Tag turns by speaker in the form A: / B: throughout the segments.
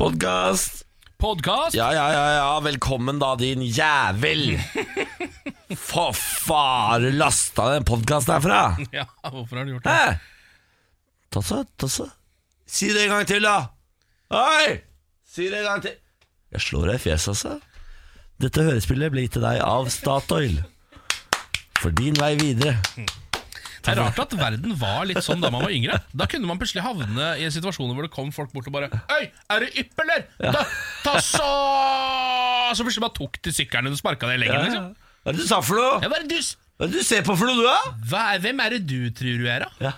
A: Podkast!
B: Podkast?
A: Ja, ja, ja, ja, velkommen da, din jævel! For faen, har du lasta den podkasten herfra?
B: Ja, hvorfor har du gjort det?
A: Hæ? Ta så, ta så. Si det en gang til, da! Oi! Si det en gang til. Jeg slår deg i fjeset, altså. Dette hørespillet ble gitt til deg av Statoil. For din vei videre.
B: Det er rart at verden var litt sånn da man var yngre. Da kunne man plutselig havne i situasjoner hvor det kom folk bort og bare Øy, er du ypp, eller? Da, ta så Så plutselig bare tok de sykkelen din og sparka deg i leggen. liksom
A: Hva er det du sa for
B: ja,
A: noe?
B: hva er det du, s-
A: Hva er det du ser på for noe, du, da?
B: hva er, Hvem er det du tror du er, da?
A: Ja.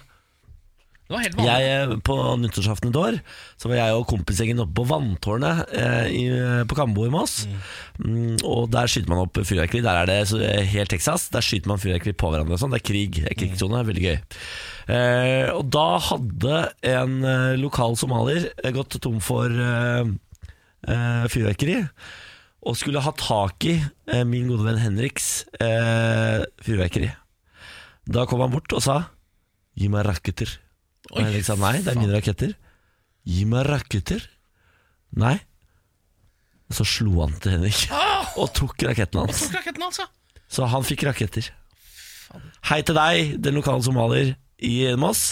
B: Det var helt vanlig.
A: Jeg, eh, på nyttårsaften et år Så var jeg og kompisgjengen oppe på vanntårnet eh, i, På Kambo i Mås mm, Og der skyter man opp fyrverkeri Der er det så, eh, helt Texas Der skyter man fyrverkeri på hverandre og sånn. Det er krig, det er
B: Mm.
A: krigssone, veldig gøy eh, Og da hadde en eh, lokal somalier eh, Gått tom for eh, eh, fyrverkeri Og skulle ha tak i eh, Min gode venn Henriks eh, Fyrverkeri Da kom han bort og sa Gi meg raketter og
B: Oi,
A: Henrik sa nei, det er mine raketter. Gi meg raketter. Nei. Og så slo han til Henrik
B: Ah!
A: og tok raketten hans.
B: Tok raketten, altså.
A: Så han fikk raketter. Hei til deg, den lokale somalier i Moss.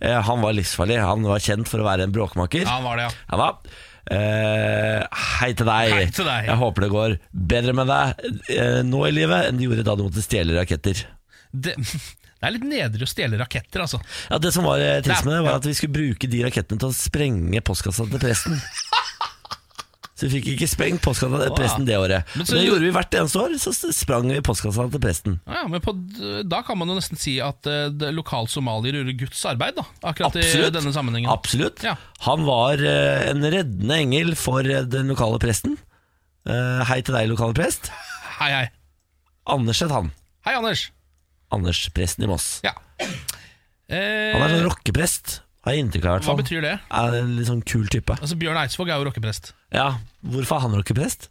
A: Eh, han var livsfarlig. Han var kjent for å være en bråkmaker.
B: Ja, han var det, ja.
A: Ja da. Eh, hei til deg.
B: Hei til deg.
A: Jeg håper det går bedre med deg eh, nå i livet enn det gjorde da du måtte stjele raketter.
B: Det, det er litt nedrig å stjele raketter, altså.
A: Ja, Det som var eh, trist med det,
B: Ja.
A: var at vi skulle bruke de rakettene til å sprenge postkassa til presten. Så vi fikk ikke sprengt postkassa til presten det året.
B: Men
A: Men
B: så-
A: det gjorde vi hvert eneste år, så s- sprang vi postkassa til presten.
B: Ja, men på, d- Da kan man jo nesten si at eh, det- lokal somalier gjorde Guds arbeid, da. Akkurat i
A: Absolutt.
B: denne sammenhengen.
A: Absolutt.
B: Ja.
A: Han var eh, en reddende engel for eh, den lokale presten. Eh, hei til deg, lokale prest.
B: Hei, hei.
A: Anders het han.
B: Hei, Anders.
A: Anders, presten i Moss.
B: Ja. Eh,
A: Han er sånn rockeprest, har jeg inntrykk av. i hvert
B: hva
A: fall.
B: betyr det?
A: Er en litt sånn kul type.
B: Altså Bjørn Eidsvåg er jo rockeprest.
A: Ja, Hvorfor er han rockeprest?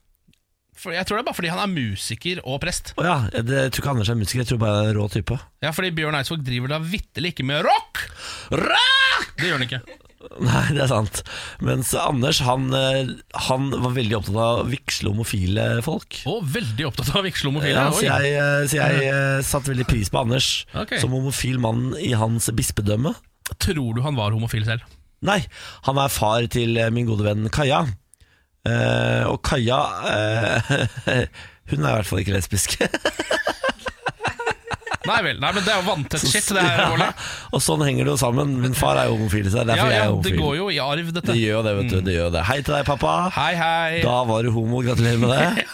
B: For jeg tror det er bare fordi han er musiker og prest.
A: Å ja, det, jeg tror ikke Anders er musiker, jeg tror bare han er en rå type.
B: Ja, fordi Bjørn Eidsvåg driver da vitterlig ikke med rock!
A: Rock!
B: Det gjør han ikke.
A: Nei, det er sant. Mens Anders han, eh, han var veldig opptatt av å vigsle homofile folk.
B: Og veldig opptatt av å vigsle homofile.
A: Ja,
B: Oi.
A: så jeg, eh, så jeg eh, satte veldig pris på Anders
B: Ok.
A: som homofil mann i hans bispedømme.
B: Tror du han var homofil selv?
A: Nei, han er far til eh, min gode venn Kaja. Eh, og Kaja eh, Hun er i hvert fall ikke lesbisk.
B: Nei vel. Nei, men det er jo vanntett shit, det her. Ole.
A: og sånn henger det jo sammen. Min far er jo homofil, så det er
B: Ja,
A: derfor
B: ja,
A: jeg er
B: det
A: homofil.
B: går jo i arv, dette.
A: Det gjør jo det, vet du. Det gjør jo det. Hei til deg, pappa.
B: Hei, hei.
A: Da var du homo, gratulerer med det.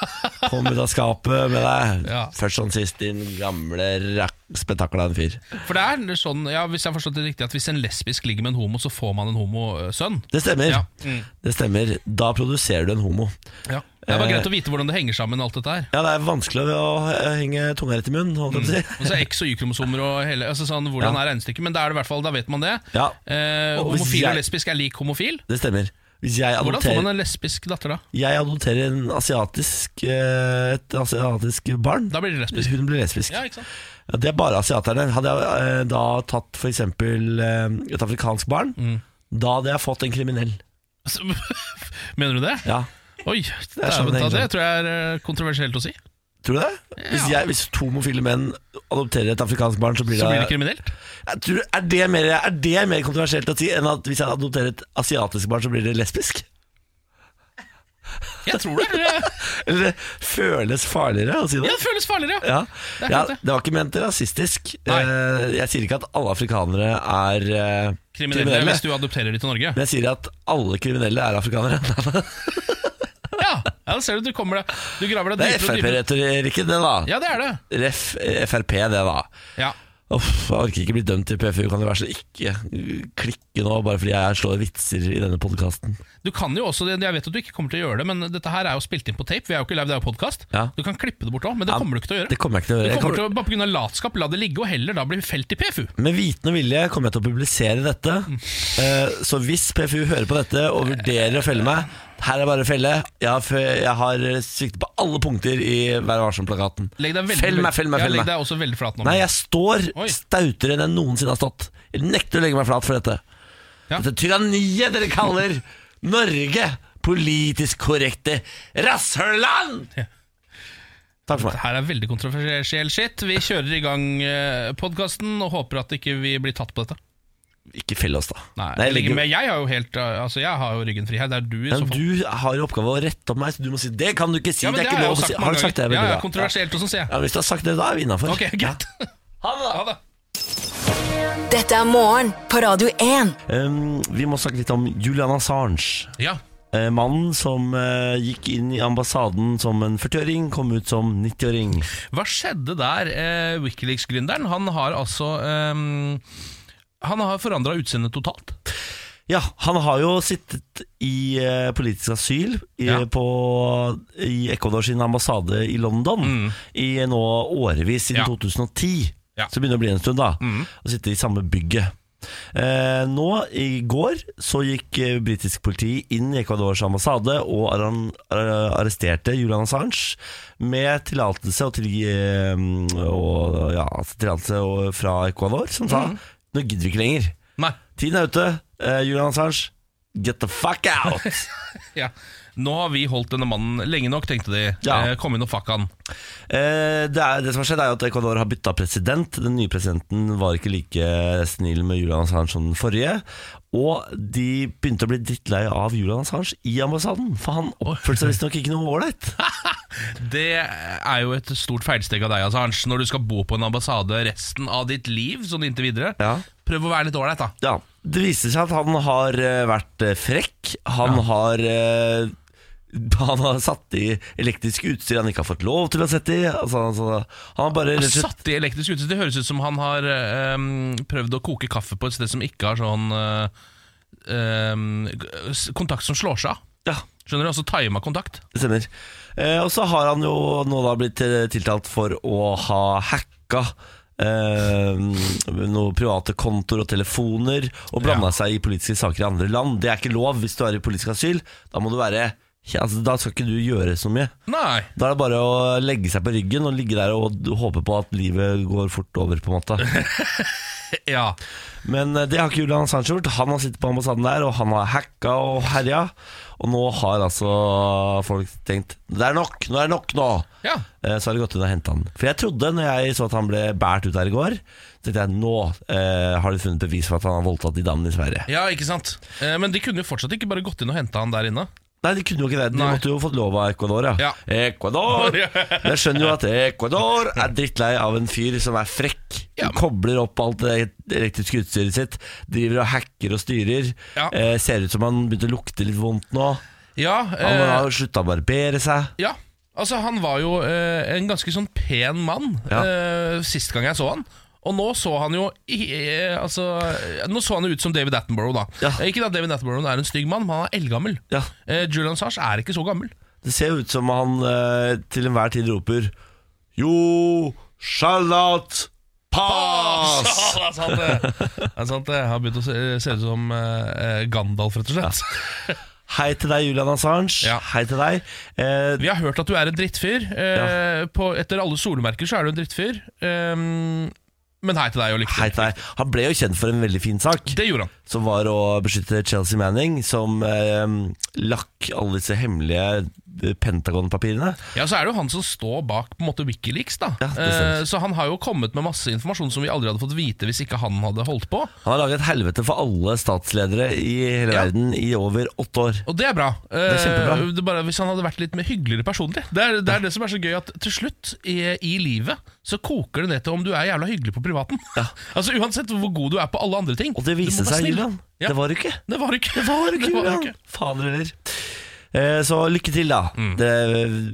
A: Kom ut av skapet med deg.
B: Ja.
A: Først som sist, din gamle rak- spetakkel av en fyr.
B: For det er sånn, ja, Hvis jeg har forstått det riktig, at hvis en lesbisk ligger med en homo, så får man en homosønn.
A: Det stemmer.
B: Ja. Mm.
A: Det stemmer. Da produserer du en homo.
B: Ja. Det er
A: Eh.
B: bare greit å vite hvordan det henger sammen, alt dette her.
A: Ja, det er vanskelig å eh, henge tunga rett i munnen, holdt jeg på å si.
B: Og så X- og Y-kromosomer og hele altså sånn, Hvordan er regnestykket? Men da er det i hvert fall, da vet man det.
A: Ja.
B: Eh,
A: Og hvis
B: homofil og
A: jeg-
B: lesbisk er lik homofil.
A: Det stemmer. Hvis jeg
B: Hvordan får
A: adopterer,
B: man en lesbisk datter da?
A: jeg adopterer en asiatisk, eh, et asiatisk barn,
B: Da blir det lesbisk.
A: hun blir lesbisk.
B: Ja, ikke sant?
A: Ja, Det er bare asiaterne. Hadde jeg eh, da tatt for eksempel eh, et afrikansk barn,
B: Mm.
A: da hadde jeg fått en kriminell.
B: Så- Altså, Mener du det?
A: Ja.
B: Oi,
A: er sånn
B: dæven
A: det
B: ta,
A: henger
B: det tror jeg er eh, kontroversielt å si.
A: Tror du det? Hvis, jeg, hvis to homofile menn adopterer et afrikansk barn, så blir det,
B: Så blir det kriminelt.
A: jeg tror, er, det mer, er det mer kontroversielt å si enn at hvis jeg adopterer et asiatisk barn, så blir det lesbisk?
B: Jeg tror det. eh,
A: Eller det føles farligere å si
B: Ja,
A: det?
B: det føles farligere, ja.
A: Ja,
B: Det
A: ja,
B: er klart det.
A: det var ikke ment rasistisk.
B: Nei.
A: Eh, Jeg sier ikke at alle afrikanere er eh,
B: Kriminelle,
A: kriminelle,
B: hvis du adopterer de til Norge.
A: men jeg sier at alle kriminelle er afrikanere.
B: Ja, ja da ser du, du kommer deg Du graver
A: Det
B: deg
A: er
B: dypere og dypere.
A: Frp-retorikken, det, da.
B: Ja, det er det.
A: Ref, Frp, det, da.
B: Ja.
A: Uff, jeg orker ikke bli dømt i PFU, kan det være så ikke klikke nå, bare fordi jeg slår vitser i denne podkasten.
B: Du kan jo også, Jeg vet at du ikke kommer til å gjøre det, men dette her er jo spilt inn på tape. Vi er jo ikke live, det er jo podkast.
A: Ja.
B: Du kan klippe det bort òg, men det
A: Ja,
B: kommer du ikke til å gjøre.
A: Det kommer jeg ikke til å
B: Du
A: gjøre. Jeg
B: kommer
A: kommer,
B: til å, bare pga. latskap la det ligge, og heller da bli felt i PFU.
A: med viten og vilje kommer jeg til å publisere dette. Eh, Så hvis PFU hører på dette og vurderer å felle meg, her er bare felle. Jeg har, f- jeg har eh, sviktet på alle punkter i Vær varsom-plakaten.
B: Legg deg veldig,
A: Fell meg, fell meg,
B: ja,
A: fell
B: Legg
A: meg.
B: deg også veldig flat nå.
A: Nei, jeg står
B: Oi.
A: stautere enn jeg noensinne har stått. Jeg nekter å legge meg flat for dette.
B: Ja.
A: Dette tyranniet dere kaller Norge, politisk korrekte rasshøland! Takk for meg.
B: Her er veldig kontroversiell shit. Vi kjører i gang podkasten og håper at ikke vi blir tatt på dette.
A: Ikke fell oss, da.
B: Nei,
A: Nei,
B: jeg,
A: legger-
B: men jeg har jo helt Altså, jeg har jo ryggen fri her. Det er du i så
A: men
B: fall.
A: du har jo oppgave å rette opp meg, så du må si 'det kan du ikke si'.
B: Ja, men
A: det er ikke
B: har jeg
A: lov
B: jo
A: å si.
B: mange
A: Har du sagt det?
B: ganger. Ja,
A: Veldig
B: ja,
A: bra.
B: kontroversielt og sånn, sier jeg.
A: Ja, hvis du har sagt det, da er vi innafor.
B: Ok, greit.
A: Ha det, da.
B: Ha det.
C: Dette er morgen på Radio 1.
A: Um, vi må snakke litt om Julian Assange.
B: Ja.
A: Eh, mannen som eh, gikk inn i ambassaden som en 40-åring, kom ut som 90-åring.
B: Hva skjedde der? Eh, Wikileaks-gründeren, han har altså ehm, Han har forandra utseendet totalt.
A: Ja, han har jo sittet i eh, politisk asyl i,
B: Ja.
A: på, i Ecuador sin ambassade i London i nå årevis, siden
B: Mm. Ja.
A: 2010.
B: Ja. Mm.
A: Så det begynner å bli en stund, da. Å sitte i samme bygget. Eh, nå, i går, så gikk eh, britisk politi inn i Ecuadors ambassade og arran, ar- arresterte Julian Assange med tillatelse og, til, eh, og ja, altså tillatelse og- fra Ecuador, som sa
B: Mm.
A: nå gidder vi ikke lenger.
B: Nei.
A: Tiden er ute. Eh, Julian Assange, get the fuck out!
B: Ja. Nå har vi holdt denne mannen lenge nok, tenkte de.
A: Ja.
B: Eh, kom inn og fuck han.
A: Eh, det, er, det som har skjedd, er jo at Ecuador har bytta president. Den nye presidenten var ikke like snill med Julian Assange som den forrige. Og de begynte å bli drittlei av Julian Assange i ambassaden, for han oppførte seg visstnok ikke noe ålreit.
B: Det er jo et stort feilsteg av deg, Assange. Når du skal bo på en ambassade resten av ditt liv, sånn inntil videre.
A: Ja.
B: Prøv å være litt ålreit, da.
A: Ja, det viser seg at han har eh, vært eh, frekk. Han har eh, han har satt i elektrisk utstyr han ikke har fått lov til å sette i. Altså, altså, han har bare rett og slett
B: Satt i elektrisk utstyr. Det høres ut som han har ehm, prøvd å koke kaffe på et sted som ikke har sånn eh, ehm, s- kontakt som slår seg av.
A: ja,
B: Skjønner du? Altså tima kontakt.
A: Det stemmer. Eh, og så har han jo nå da blitt eh, tiltalt for å ha hacka eh, noen private kontor og telefoner og blanda
B: Ja.
A: seg i politiske saker i andre land. Det er ikke lov hvis du er i politisk asyl. Da må du være ja, altså, Da skal ikke du gjøre så mye.
B: Nei.
A: Da er det bare å legge seg på ryggen og ligge der og håpe på at livet går fort over, på en måte.
B: Ja.
A: Men eh, det har ikke Julian Assange gjort. Han har sittet på ambassaden der, og han har hacka og herja. Og nå har altså folk tenkt Det er nok! Nå er det nok nå!
B: ja.
A: Eh, Så har de gått inn og henta han. For jeg trodde, når jeg så at han ble båret ut der i går, så tenkte jeg nå eh, har de funnet bevis for at han har voldtatt de damene i Sverige.
B: Ja, ikke sant. Eh, men de kunne jo fortsatt ikke bare gått inn og henta han der inne.
A: Nei, de kunne jo ikke det. De
B: Nei.
A: måtte jo fått lov av Ecuador, ja.
B: Ja.
A: Ecuador! Men Jeg skjønner jo at Ecuador er drittlei av en fyr som er frekk.
B: Ja, men-
A: Kobler opp alt det elektriske utstyret sitt. Driver og hacker og styrer.
B: Ja.
A: Eh, ser ut som han begynte å lukte litt vondt nå.
B: Ja,
A: Han
B: eh,
A: har slutta å barbere seg.
B: ja. Altså, han var jo eh, en ganske sånn pen mann
A: Ja.
B: eh, sist gang jeg så han. Og nå så han jo i, eh, altså, eh, Nå så han jo ut som David Attenborough, da.
A: Ja.
B: Eh, Ikke at David Attenborough er en stygg mann, men han er eldgammel.
A: Ja.
B: Eh, Julian Sars er ikke så gammel.
A: Det ser jo ut som han eh, til enhver tid roper Jo, Charlotte Pass!
B: Ja, det er sant, det. Det er sant, det. Han har begynt å se, se ut som eh, Gandalf, rett og slett.
A: Hei til deg, Julian Assange.
B: Ja.
A: Hei til deg. Eh,
B: Vi har hørt at du er en drittfyr. Eh, på, etter alle solemerker så er du en drittfyr. Um, men hei til deg og lykke
A: Hei
B: til.
A: til deg. Han ble jo kjent for en veldig fin sak,
B: Det gjorde han.
A: som var å beskytte Chelsea Manning, som eh, lakk alle disse hemmelige eh, Pentagon-papirene.
B: Ja, Så er det jo han som står bak på en måte Wikileaks. da
A: Ja, det
B: eh,
A: stemmer.
B: Så han har jo kommet med masse informasjon som vi aldri hadde fått vite hvis ikke han hadde holdt på.
A: Han har laget et helvete for alle statsledere i hele
B: Ja.
A: verden i over åtte år.
B: Og det er bra.
A: er kjempebra.
B: Eh, det er bare Hvis han hadde vært litt mer hyggeligere personlig. Det er det, er det som er så gøy, at til slutt i, i livet så koker det ned til om du er jævla hyggelig på privaten. altså Uansett hvor god du er på alle andre ting.
A: Og det
B: du må
A: viste
B: være
A: seg,
B: snill.
A: Julian.
B: Ja.
A: Det var det ikke.
B: Det var ikke
A: Det var ikke Julian. Fader heller. Eh, så lykke til, da.
B: Mm.
A: Det,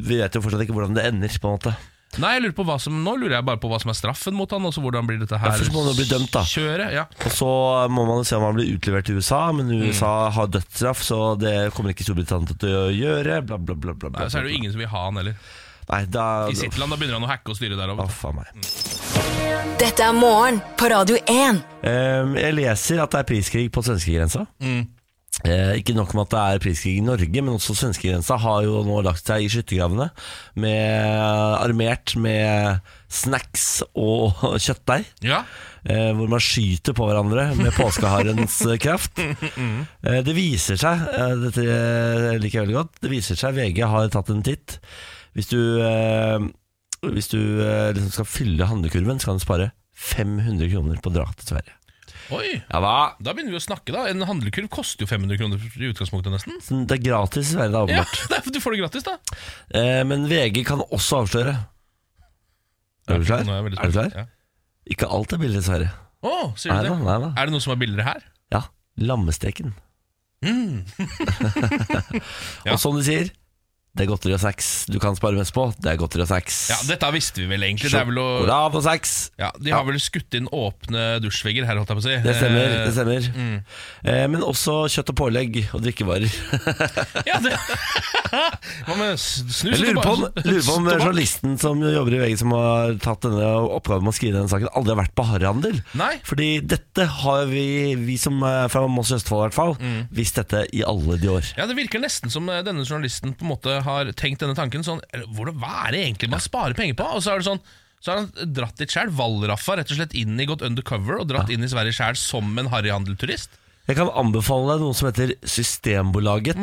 A: vi vet jo fortsatt ikke hvordan det ender, på en måte.
B: Nei, jeg lurer på hva som Nå lurer jeg bare på hva som er straffen mot han, og så hvordan blir dette her
A: først må han jo bli dømt, da.
B: kjøret. Ja.
A: Og så må man jo se om han blir utlevert til USA, men
B: Mm.
A: USA har dødsstraff, så det kommer ikke Storbritannia til å gjøre. Bla, bla, bla. bla, bla,
B: Nei, Så er det jo ingen som vil ha han heller.
A: Nei, da,
B: I sitt land, da begynner han å hacke og styre der
A: Å,
B: over.
A: faen meg.
C: Dette er morgen på Radio 1.
A: Ehm, jeg leser at det er priskrig på svenskegrensa. Eh, ikke nok med at det er priskrig i Norge, men også svenskegrensa har jo nå lagt seg i skyttergravene. Med, armert med snacks og kjøttdeig.
B: Ja.
A: Eh, hvor man skyter på hverandre med påskeharens eh, kraft. Eh, det viser seg, eh, dette eh, liker jeg veldig godt, det viser seg VG har tatt en titt. Hvis du, eh, hvis du eh, liksom skal fylle handlekurven, så kan du spare 500 kroner på å dra til Sverige.
B: Oi.
A: Ja da,
B: Da begynner vi å snakke, da. En handlekurv koster jo 500 kroner i utgangspunktet, nesten.
A: Så Sånn, Det er gratis i Sverige, da,
B: Ja,
A: åpenbart.
B: Du får det gratis, da.
A: Eh, Men VG kan også avsløre Er du klar?
B: Nå jeg veldig
A: Er du
B: spent.
A: klar?
B: Ja.
A: Ikke alt er billig, dessverre.
B: Å, sier
A: Nei
B: du
A: da,
B: det?
A: nei da.
B: Er det noe som er billigere her?
A: Ja, lammesteken. Mm.
B: Ja.
A: Og som de sier, det er godteri og snacks du kan spare mest på. Det er godteri og snacks.
B: Ja, Dette visste vi vel egentlig. Det er vel å,
A: Sjokolade og snacks.
B: ja, de har vel skutt inn åpne dusjvegger her, holdt jeg på å si.
A: Det stemmer.
B: Eh,
A: det stemmer eh, Men også kjøtt og pålegg og drikkevarer.
B: Ja, det. Hva med s- snus
A: Jeg lurer på om,
B: tobakk?
A: lurer på om
B: Tobakk?
A: journalisten som jobber i VG, som har tatt denne oppgaven med å skrive denne saken, aldri har vært på harrehandel.
B: Nei.
A: Fordi dette har vi, vi som er fra Moss og Østfold i hvert fall,
B: Mm.
A: visst dette i alle de år.
B: Ja, Det virker nesten som eh, denne journalisten på en måte har tenkt denne tanken. sånn, eller, hvordan, Hva er det egentlig man sparer penger på? Og så er det sånn så har han dratt dit sjæl, valraffa rett og slett inn i gått undercover og dratt inn i Sverige sjæl som en harryhandelturist.
A: Jeg kan anbefale deg noe som heter Systembolaget.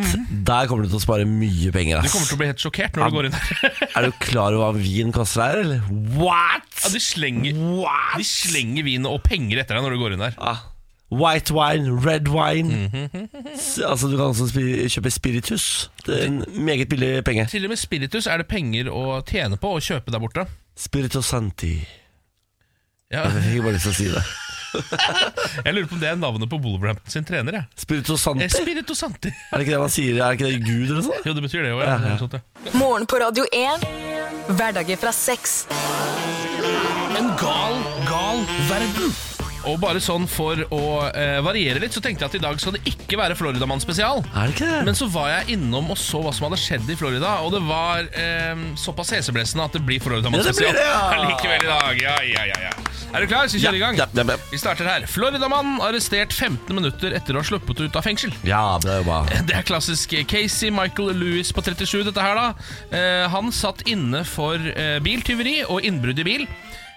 A: Der kommer du til å spare mye penger.
B: Mm. Du kommer
A: Ass.
B: til å bli helt sjokkert når du går inn her.
A: Er du klar over hva vin koster her, eller? What?!
B: Ja, de slenger,
A: What?!
B: de slenger vin og penger etter deg når du går inn her.
A: Ja. Ah, White wine, red wine
B: Mm-hmm.
A: S- Altså Du kan også spi kjøpe spiritus. Det er en meget billig penge.
B: Til og med spiritus er det penger å tjene på å kjøpe der borte.
A: Spiritosanti.
B: Ja,
A: Jeg fikk bare lyst til å si det.
B: jeg lurer på om det er navnet på Wolverhampton sin trener. Jeg.
A: Spiritosanti.
B: Eh, Spirito Santi.
A: Er det ikke det man sier? Er det ikke det Gud eller noe sånt?
B: Jo, det betyr det jo. Ja. Noe sånt, ja.
C: Morgen på Radio 1. Hverdager fra seks.
B: En gal, gal verden. Og bare sånn for å eh, variere litt, så tenkte jeg at i dag skal det ikke være Floridamann spesial.
A: Er det ikke det?
B: Men så var jeg innom og så hva som hadde skjedd i Florida, og det var eh, såpass heseblesende at det blir Floridamann
A: Ja, det blir
B: spesial.
A: det, ja.
B: Likevel i dag. Ja, ja, ja, ja. Er du klar? Skal vi kjøre i gang?
A: Ja, ja, ja.
B: Vi starter her. Floridamann arrestert 15 minutter etter å ha sluppet ut av fengsel.
A: ja, bra jobba.
B: Det er klassisk Casey Michael Lewis på 37, dette her, da. Eh, han satt inne for eh, biltyveri og innbrudd i bil.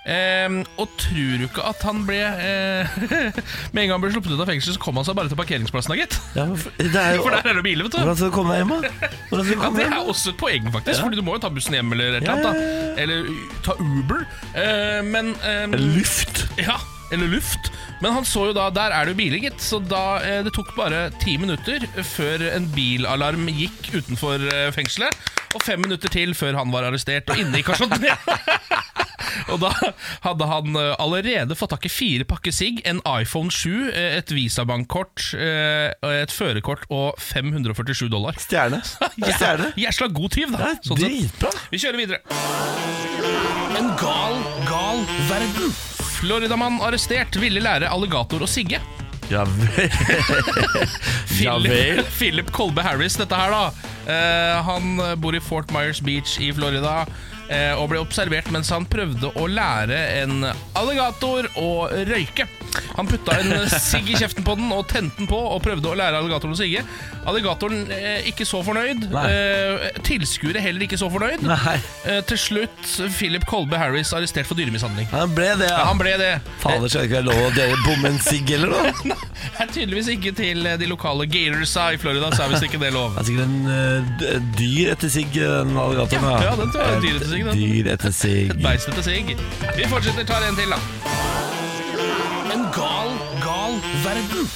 B: Eh, og tror du ikke at han ble eh, Med en gang han ble sluppet ut av fengselet, så kom han seg bare til parkeringsplassen, da, gitt.
A: Ja, men for- det er jo,
B: For der er det biler, vet du.
A: hvordan skal du komme deg hjem, da? Hvordan skal du
B: Ja,
A: komme
B: det
A: deg
B: er
A: hjem?
B: også et poeng, faktisk, Fordi du må jo ta bussen hjem eller et
A: Ja,
B: eller annet. Da. Eller uh, ta Uber. Eh, men eh,
A: Luft.
B: ja, eller luft. Men han så jo da, der er det jo biler, gitt. Så da, eh, det tok bare ti minutter før en bilalarm gikk utenfor eh, fengselet. Og fem minutter til før han var arrestert og inne i kasjotten igjen. Og da hadde han eh, allerede fått tak i fire pakker sigg, en iPhone 7, eh, et visabankkort, eh, et førerkort og 547 dollar.
A: Stjerne. Det er Stjerne.
B: Jæsla god tyv, da.
A: Ja,
B: sånn sett.
A: dritbra.
B: Vi kjører videre. En gal, gal verden. Floridamann arrestert ville lære alligator å sigge.
A: Ja vel. Ja vel.
B: Philip, Philip Kolbe Harris, dette her, da. Eh, han bor i Fort Myers Beach i Florida. eh, Og ble observert mens han prøvde å lære en alligator å røyke. Han putta en sigg i kjeften på den og tente den på og prøvde å lære alligatoren å sigge. Alligatoren eh, ikke så fornøyd.
A: Nei.
B: Eh, Tilskuere heller ikke så fornøyd.
A: Nei.
B: Eh, Til slutt Philip Kolbe Harris arrestert for dyremishandling.
A: Han ble det,
B: Ja,
A: ja.
B: han ble det.
A: Fader, skal det ikke være lov å dele bomme en sigg, eller noe? Det
B: Det er tydeligvis ikke til eh, de lokale gatorsa i Florida, så er visst ikke det lov.
A: er sikkert en eh, d- dyr etter sigg, eh, den alligatoren.
B: Ja,
A: da.
B: ja, den tror jeg er dyr etter sigg, den.
A: Et Dyr etter sigg.
B: Et beist etter sigg. Vi fortsetter, tar en til, da. En gal, gal verden.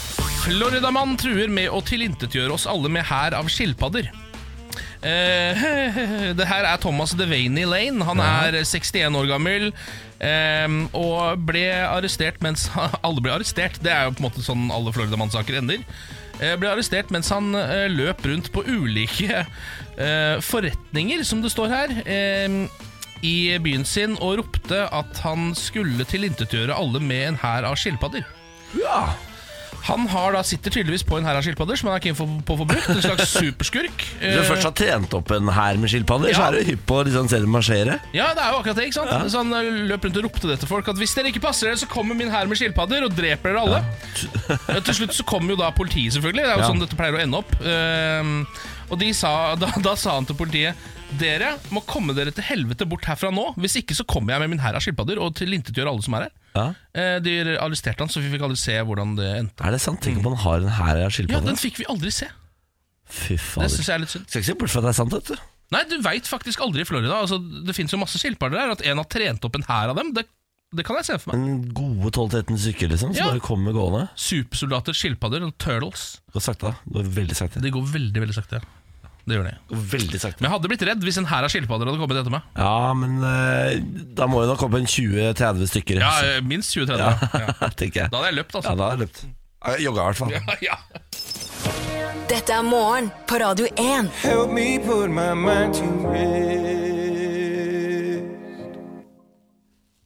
B: Floridamann truer med å tilintetgjøre oss alle med hær av skilpadder. Eh, det her er Thomas Devaney Lane. Han er 61 år gammel. eh, og ble arrestert mens Alle ble arrestert. Det er jo på en måte sånn alle Floridamann-saker ender. Eh, ble arrestert mens han eh, løp rundt på ulike eh, forretninger, som det står her. eh, i byen sin og ropte at han skulle tilintetgjøre alle med en hær av skilpadder.
A: Ja.
B: Han har da, sitter tydeligvis på en hær av skilpadder som han er keen for- på å få brukt. En slags superskurk.
A: Hvis du
B: Eh,
A: først har trent opp en hær med skilpadder, så
B: Ja.
A: er du hypp på å liksom se dem marsjere.
B: Ja, det er jo akkurat det, ikke sant? Så han eh, løp rundt og ropte det til folk at hvis dere ikke passer dere, så kommer min hær med skilpadder og dreper dere alle. Eh, til slutt så kom jo da politiet, selvfølgelig. Det er jo
A: Ja.
B: sånn dette pleier å ende opp. Ehm, og de sa, da, da sa han til politiet dere må komme dere til helvete bort herfra nå. Hvis ikke så kommer jeg med min hær av skilpadder og tilintetgjør alle som er her.
A: Ja.
B: Eh, de arresterte han, så vi fikk aldri se hvordan det endte.
A: Er det sant? Tenk om man har en hær av
B: Mm. Ja,
A: skilpadder.
B: den fikk vi aldri se.
A: Fy
B: Det
A: fader.
B: syns jeg er litt synd.
A: Skal ikke se bort fra at det er sant, vet du.
B: Nei, du veit faktisk aldri i Florida. Altså, det fins jo masse skilpadder der. At en har trent opp en hær av dem, det, det kan jeg se for meg.
A: En gode 12-13 stykker, liksom, som
B: Ja.
A: bare kommer gående.
B: Supersoldater, skilpadder og turtles.
A: Gå sakte, da. Gå veldig sakte.
B: De går veldig veldig sakte. Det gjør de.
A: Gå veldig sakte.
B: Men jeg hadde blitt redd hvis en hær av skilpadder hadde kommet etter meg.
A: Ja, men eh, da må jo nok opp en 20-30 stykker.
B: Ja,
A: altså.
B: eh, Minst 20-30. Ja.
A: tenker jeg.
B: Da hadde jeg løpt,
A: Ja,
B: altså.
A: da har jeg løpt. Jeg Jogga i hvert fall.
B: Ja.
C: Dette er morgen på Radio 1.
D: Help me put my mind to rest.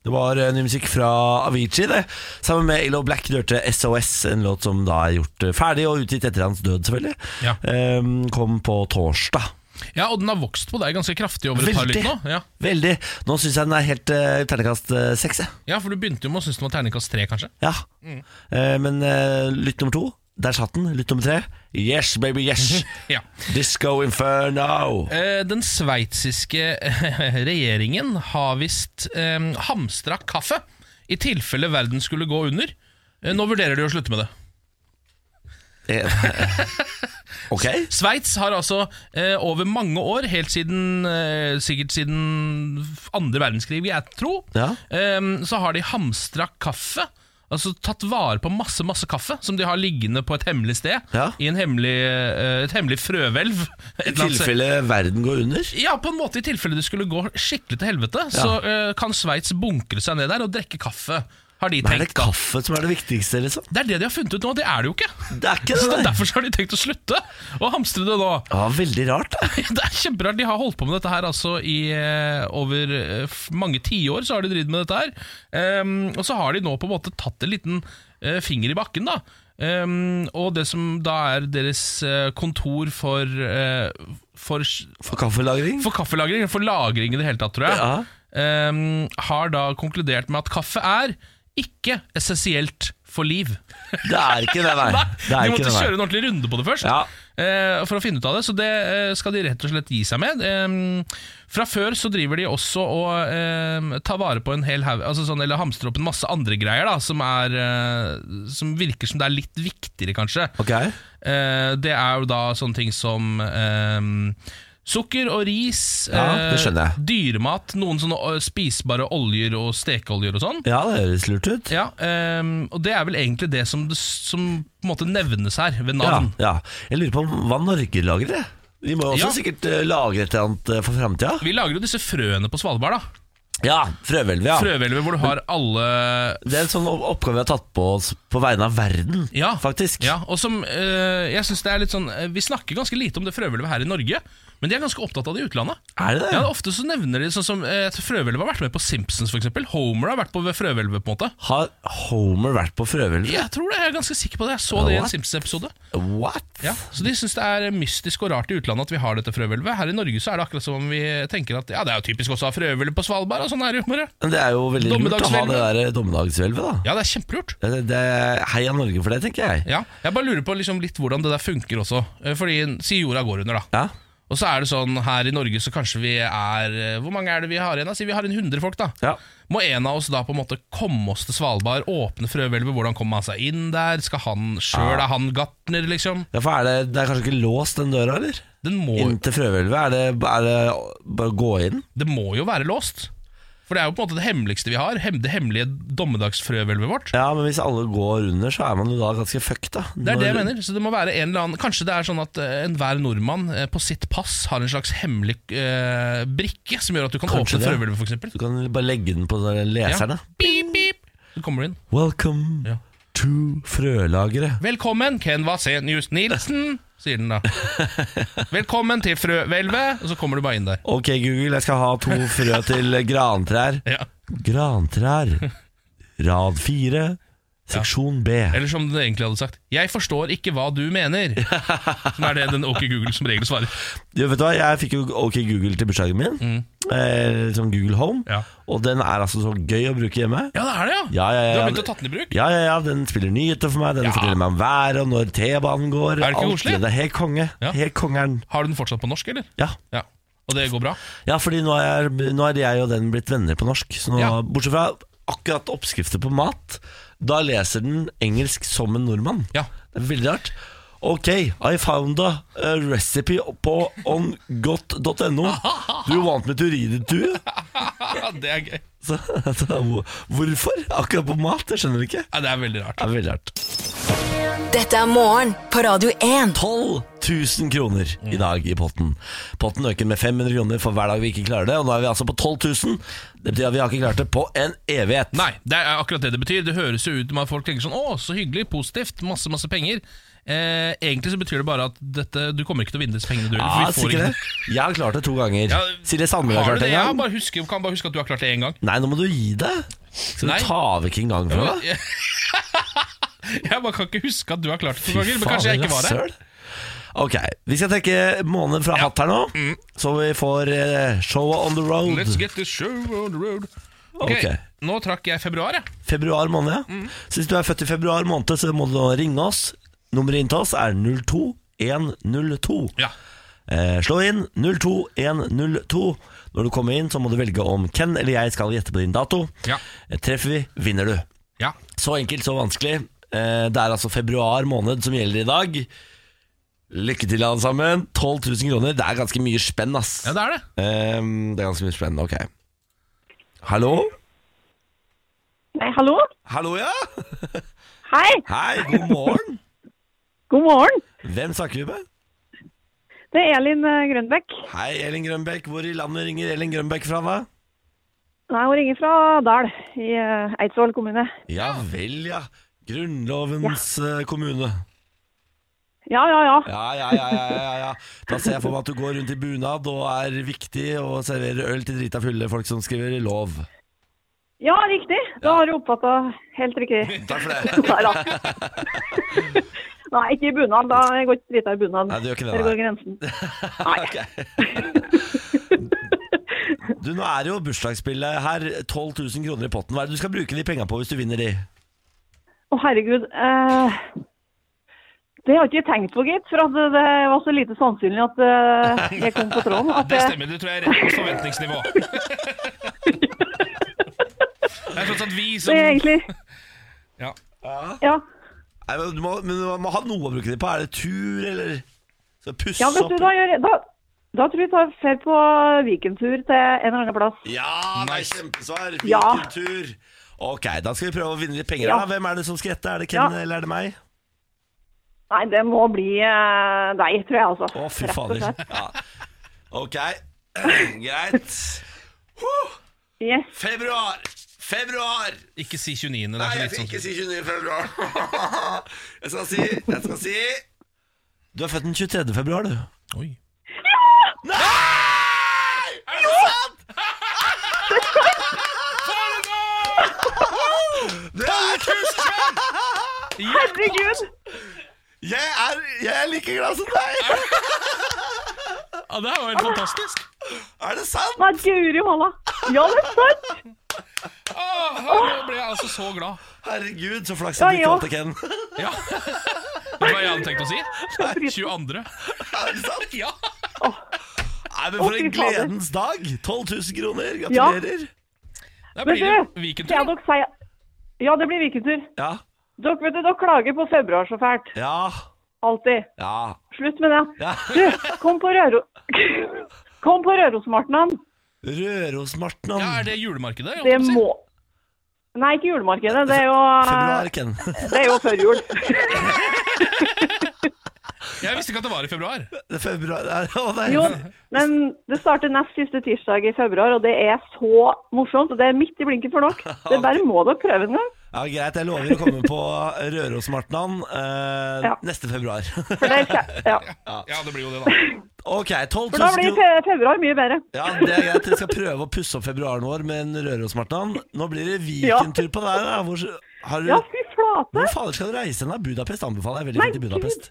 A: Det var eh, ny musikk fra Avicii, det. Sammen med Illo Black hørte SOS, en låt som da er gjort eh, ferdig og utgitt etter hans død, selvfølgelig.
B: Ja.
A: Ehm, kom på torsdag.
B: ja, Og den har vokst på deg ganske kraftig over et par
A: Veldig.
B: lytt nå. Ja.
A: Veldig. Nå syns jeg den er helt uh, ternekast eh, seks, jeg.
B: ja, for du begynte jo med å synes den var terningkast tre, kanskje.
A: Ja.
B: Mm.
A: Eh, men eh, lytt nummer to, der satt den. Lytt nummer tre, yes baby yes.
B: Ja.
A: Disco Inferno.
B: Eh, Den sveitsiske eh, regjeringen har visst eh, hamstra kaffe i tilfelle verden skulle gå under. Eh, Nå vurderer de å slutte med det.
A: Eh, ok.
B: Sveits har altså eh, over mange år, helt siden eh, sikkert siden andre verdenskrig, vil jeg tro,
A: Ja.
B: eh, så har de hamstra kaffe. Altså tatt vare på masse masse kaffe som de har liggende på et hemmelig sted.
A: Ja.
B: I en hemmelig, eh, et hemmelig frøhvelv.
A: I
B: Et eller annet sted.
A: tilfelle verden går under.
B: Ja, på en måte i tilfelle det skulle gå skikkelig til helvete, så eh, kan Sveits bunkre seg ned der og drikke kaffe. Har de
A: Men er det
B: tenkt da.
A: kaffe som er det viktigste, liksom?
B: Det er det de har funnet ut nå, det er det jo ikke.
A: Det er ikke
B: Så
A: det, nei.
B: Derfor så har de tenkt å slutte å hamstre det nå.
A: Ja, veldig rart. da.
B: Det er kjemperart. De har holdt på med dette her altså i eh, over eh, f- mange tiår. Så har de drevet med dette her. Ehm, og så har de nå på en måte tatt en liten eh, finger i bakken, da. Ehm, og det som da er deres eh, kontor for, eh, for
A: For kaffelagring?
B: for kaffelagring, for lagring i det hele tatt, tror jeg,
A: Ja.
B: ehm, har da konkludert med at kaffe er ikke essensielt for liv.
A: Det er ikke det, nei. Det
B: de
A: er ikke
B: måtte
A: det, nei.
B: kjøre en ordentlig runde på det først.
A: Ja.
B: eh, For å finne ut av det Så det eh, skal de rett og slett gi seg med Ehm, Fra før så driver de også Å eh, ta vare på en hel haug altså sånn, Eller hamstre opp en masse andre greier da, som, er, eh, som virker som det er litt viktigere kanskje
A: Ok.
B: Eh, Det er jo da sånne ting som ehm, Sukker og ris
A: Ja, det
B: eh,
A: skjønner jeg.
B: Dyremat, noen sånne eh, spisbare oljer og stekeoljer og sånn
A: Ja, det høres lurt ut.
B: Ja, ehm, og det er vel egentlig det som, som på en måte nevnes her ved
A: Ja,
B: navn
A: ja. Jeg lurer på om hva Norge lager det? Vi må jo også
B: Ja.
A: sikkert eh, lagre et eller annet eh, for framtida.
B: Vi lager jo disse frøene på Svalbard da
A: Ja, frøhvelvet, ja.
B: Frøhvelvet hvor du har alle
A: Det er en sånn opp- oppgave vi har tatt på oss på vegne av verden,
B: Ja.
A: faktisk.
B: Ja, og som eh, Jeg synes det er litt sånn eh, Vi snakker ganske lite om det frøhvelvet her i Norge, men de er ganske opptatt av det i utlandet.
A: Er det det?
B: Ja, Ofte så nevner de sånn som eh, Frøhvelvet har vært med på Simpsons, f.eks. Homer har vært på frøhvelvet, på en måte.
A: Har Homer vært på frøhvelvet?
B: Jeg tror det, jeg er ganske sikker på det. Jeg så det i en
A: What?
B: Simpsons-episode.
A: What?
B: Ja, så de syns det er mystisk og rart i utlandet at vi har dette frøhvelvet. Her i Norge så er det akkurat som om vi tenker at ja, det er jo typisk også å ha frøhvelvet på Svalbard, og sånn er det jo bare.
A: Men Det er jo veldig lurt å ha det
B: Dommedagshvelvet.
A: der dommedagshvelvet, da.
B: Ja, det er kjempelurt.
A: Det, det, heia Norge for det, tenker jeg.
B: Ja, jeg bare lurer på liksom litt hvordan det der funker også. Eh, Fordi Si jorda går under, da.
A: Ja.
B: Og så er det sånn her i Norge så kanskje vi er eh, Hvor mange er det vi har igjen? da? Si vi har en 100 folk, da.
A: Ja.
B: Må en av oss da på en måte komme oss til Svalbard, åpne frøhvelvet? Hvordan kommer han seg inn der? Skal han sjøl? Er han gartner, liksom?
A: Ja, for er det, det er kanskje ikke låst, den døra, eller?
B: Den må,
A: Inn til frøhvelvet? Er, det- er det bare å gå inn?
B: det må jo være låst. For det er jo på en måte det hemmeligste vi har. Hem, det hemmelige dommedagsfrøhvelvet vårt.
A: Ja, men hvis alle går under, så er man jo da ganske fucked, da.
B: Det er det jeg mener. Så det må være en eller annen Kanskje det er sånn at eh, enhver nordmann eh, på sitt pass har en slags hemmelig eh, brikke som gjør at du kan
A: Kanskje
B: åpne
A: det.
B: frøhvelvet, f.eks.
A: Du kan bare legge den på den leserne.
B: Beep, beep. Så kommer du inn.
A: Welcome
B: Ja.
A: to frølageret.
B: Velkommen, Ken Vasenius Nilsen, sier den da. Velkommen til frøhvelvet, og så kommer du bare inn der.
A: Ok, Google, jeg skal ha to frø til grantrær.
B: Ja.
A: Grantrær. Rad fire. Seksjon B.
B: Eller som det egentlig hadde sagt 'Jeg forstår ikke hva du mener'. Som er det den OK Google som regel svarer.
A: Jo, vet du hva, Jeg fikk jo OK Google til bursdagen min. Eh, som Google Home.
B: Ja.
A: Og den er altså så gøy å bruke hjemme.
B: Ja, det er det, ja!
A: Ja, ja, ja,
B: Du har
A: ja.
B: begynt å tatt den i bruk?
A: Ja, ja, ja, Den spiller nyheter for meg, den
B: Ja.
A: forteller meg om været og når T-banen går.
B: Er det ikke
A: alt
B: koselig?
A: Det er helt konge.
B: Ja.
A: Helt kongeren.
B: Har du den fortsatt på norsk, eller?
A: Ja.
B: Ja. Og det går bra?
A: ja, fordi nå er, nå er jeg og den blitt venner på norsk. Så nå,
B: Ja.
A: Bortsett fra akkurat oppskrifter på mat. Da leser den engelsk som en nordmann.
B: Ja.
A: Det er veldig rart. Ok, I found a uh, recipe på ongot.no. Do you want me to read it to you?
B: Ja, Ah, det er gøy.
A: Så, så, hvor- hvorfor? Akkurat på mat? Jeg skjønner det ikke.
B: Ja, det er veldig rart.
A: Det er veldig rart.
C: Dette er morgen på Radio 1.
A: 12 000 kroner
B: Mm.
A: i dag i potten. Potten øker med 500 kroner for hver dag vi ikke klarer det, og nå er vi altså på 12 000. Det betyr at vi har ikke klart det på en evighet.
B: Nei, det er akkurat det det betyr. Det høres jo ut som at folk tenker sånn 'Å, så hyggelig, positivt, masse, masse penger'. Eh, egentlig så betyr det bare at dette, du kommer ikke til å vinne disse pengene, du
A: Ja, Ah,
B: heller. for vi får
A: sikkert
B: ikke
A: det. Jeg har klart det to ganger.
B: Ja,
A: Silje Sandmøller har
B: har
A: klart
B: du
A: det
B: det? Jeg
A: en gang.
B: bare husker, kan bare huske at du har klart det én gang.
A: Nei, nå må du gi deg. Skal du
B: Nei.
A: ta vekk en gang fra meg?
B: Jeg jeg bare kan ikke huske at du har klart det to
A: Fy
B: ganger. Men
A: faen,
B: kanskje jeg ikke var der.
A: rasshøl. Ok, vi skal trekke måneden fra hatt her nå, så vi får eh, showet on the road.
B: Mm. Let's get this show on the road. Ok,
A: Ok.
B: Nå trakk jeg februar, jeg.
A: Februar måned, ja. Så hvis du er født i februar måned, så må du nå ringe oss. Nummeret inn til oss er 02102.
B: Ja.
A: Eh, slå inn 02102. Når du kommer inn, så må du velge om Ken eller jeg skal gjette på din dato.
B: Ja.
A: Eh, Treffer vi, vinner du.
B: ja.
A: Så enkelt, så vanskelig. Eh, det er altså februar måned som gjelder i dag. Lykke til, alle sammen. 12 000 kroner. Det er ganske mye spenn, ass.
B: Ja, det er det.
A: Eh, det er ganske mye spenn, ok. Hallo?
E: Nei, hallo?
A: Hallo, ja?
E: Hei,
A: Hei, god morgen.
E: god morgen.
A: Hvem snakker vi med?
E: Det er Elin eh, Grønbekk.
A: Hei, Elin Grønbekk. Hvor i landet ringer Elin Grønbekk fra, hva?
E: Nei, hun ringer fra Dal i eh, Eidsvoll kommune.
A: Ja vel, ja. Grunnlovens eh, kommune.
E: Ja, ja, ja.
A: Ja, ja, ja, ja, ja, ja. Da ser jeg for meg at du går rundt i bunad og er viktig og serverer øl til drita fulle folk som skriver lov.
E: Ja, riktig. Da har du oppfatta helt riktig.
A: Takk for det.
E: Nei da. Nei, ikke i bunad. Da jeg går ikke drita i bunad.
A: Nei, det gjør ikke det,
E: Der
A: nei.
E: går grensen. Nei.
A: Du, nå er det jo bursdagsspillet her. 12 000 kroner i potten. Hva er det du skal bruke de penga på hvis du vinner de?
E: Å, herregud. Eh, det har ikke jeg tenkt på, gitt. For at det, det var så lite sannsynlig at eh, jeg kom på tråden. At,
B: Det
E: eh,
B: stemmer. Du tror jeg er rett på forventningsnivå. Det er tross alt vi som
E: det er egentlig
B: Ja.
E: Ja.
A: Nei, men du må, men du må ha noe å bruke de på. Er det tur, eller? Så pusse
E: Ja, vet
A: opp
E: du, da, gjør, jeg- da, da tror jeg vi tar fer på Vikentur til en eller annen plass.
A: Ja, nei,
B: Nice.
A: kjempesvar.
E: Ja.
A: Hvilken tur? Ok, da skal vi prøve å vinne litt penger.
E: Ja.
A: da Hvem er det som skal gjette? Er det Ken
E: Ja.
A: eller er det meg?
E: Nei, det må bli eh, deg, tror jeg, altså.
A: Å, fy
E: Rett og
A: fader.
E: slett.
A: Ja. Ok, greit. Huh.
E: Yes.
A: Februar! Februar!
B: Ikke si 29. Det
A: Nei, jeg
B: er så
A: skal
B: litt
A: ikke
B: sånn
A: si 29. februar. Jeg skal si Jeg skal si Du er født den 23. februar, du.
B: Oi.
A: Nei! Er det sant? Det er kusken!
E: Herregud!
A: Jeg er, jeg er like glad som deg!
B: Ja, det her var helt fantastisk.
A: Er det sant?
E: Nei, guri malla. Ja, det er sant!
B: Åh, nå ble jeg altså så glad.
A: Herregud, så flaks at du
E: Ja,
A: ikke
E: ja.
A: holdt det, Ken.
B: Ja. Vet du hva jeg hadde tenkt å si? 22.
A: Er det sant?
B: Ja.
A: Nei, men for
E: Å,
A: en
E: fy fader.
A: gledens dag! 12 000 kroner, gratulerer.
B: Da
E: Vet
B: blir
E: du,
B: det
E: skal
B: Vikentur.
E: dere si Ja, det blir Vikentur.
A: Ja.
E: Dere, vet du, dere klager på februar så fælt.
A: ja,
E: Alltid.
A: ja,
E: Slutt med det.
A: ja.
E: Du, kom på Røro... Kom på Rørosmartnan.
A: Rørosmartnan.
B: Ja, er det julemarkedet? jeg
E: Det
B: håper å si?
E: må Nei, ikke julemarkedet. Det er jo,
A: Februar, Ken.
E: det er jo før jul.
B: Jeg visste ikke at det var i februar.
A: Det er februar Å, nei.
E: Jo, men det starter nest siste tirsdag i februar, og det er så morsomt. Og det er midt i blinken for dere. Det bare må dere prøve en gang.
A: Ja, greit, jeg lover å komme på Rørosmartnan eh,
E: Ja.
A: neste februar.
E: For, det er, kjæ- ja.
B: Ja, det blir jo det, da.
A: Ok, 12
E: for da
A: 000
E: blir
A: kroner.
E: fe- februar mye bedre.
A: Ja, det er greit. Jeg skal prøve å pusse opp februaren vår med en Rørosmartnan. Nå blir det Vikentur på deg. da. Hvor- Har du
E: Ja, fy flate!
A: Hvor fader skal du reise hen? da? Budapest anbefaler jeg veldig
E: Nei,
A: fint i Budapest.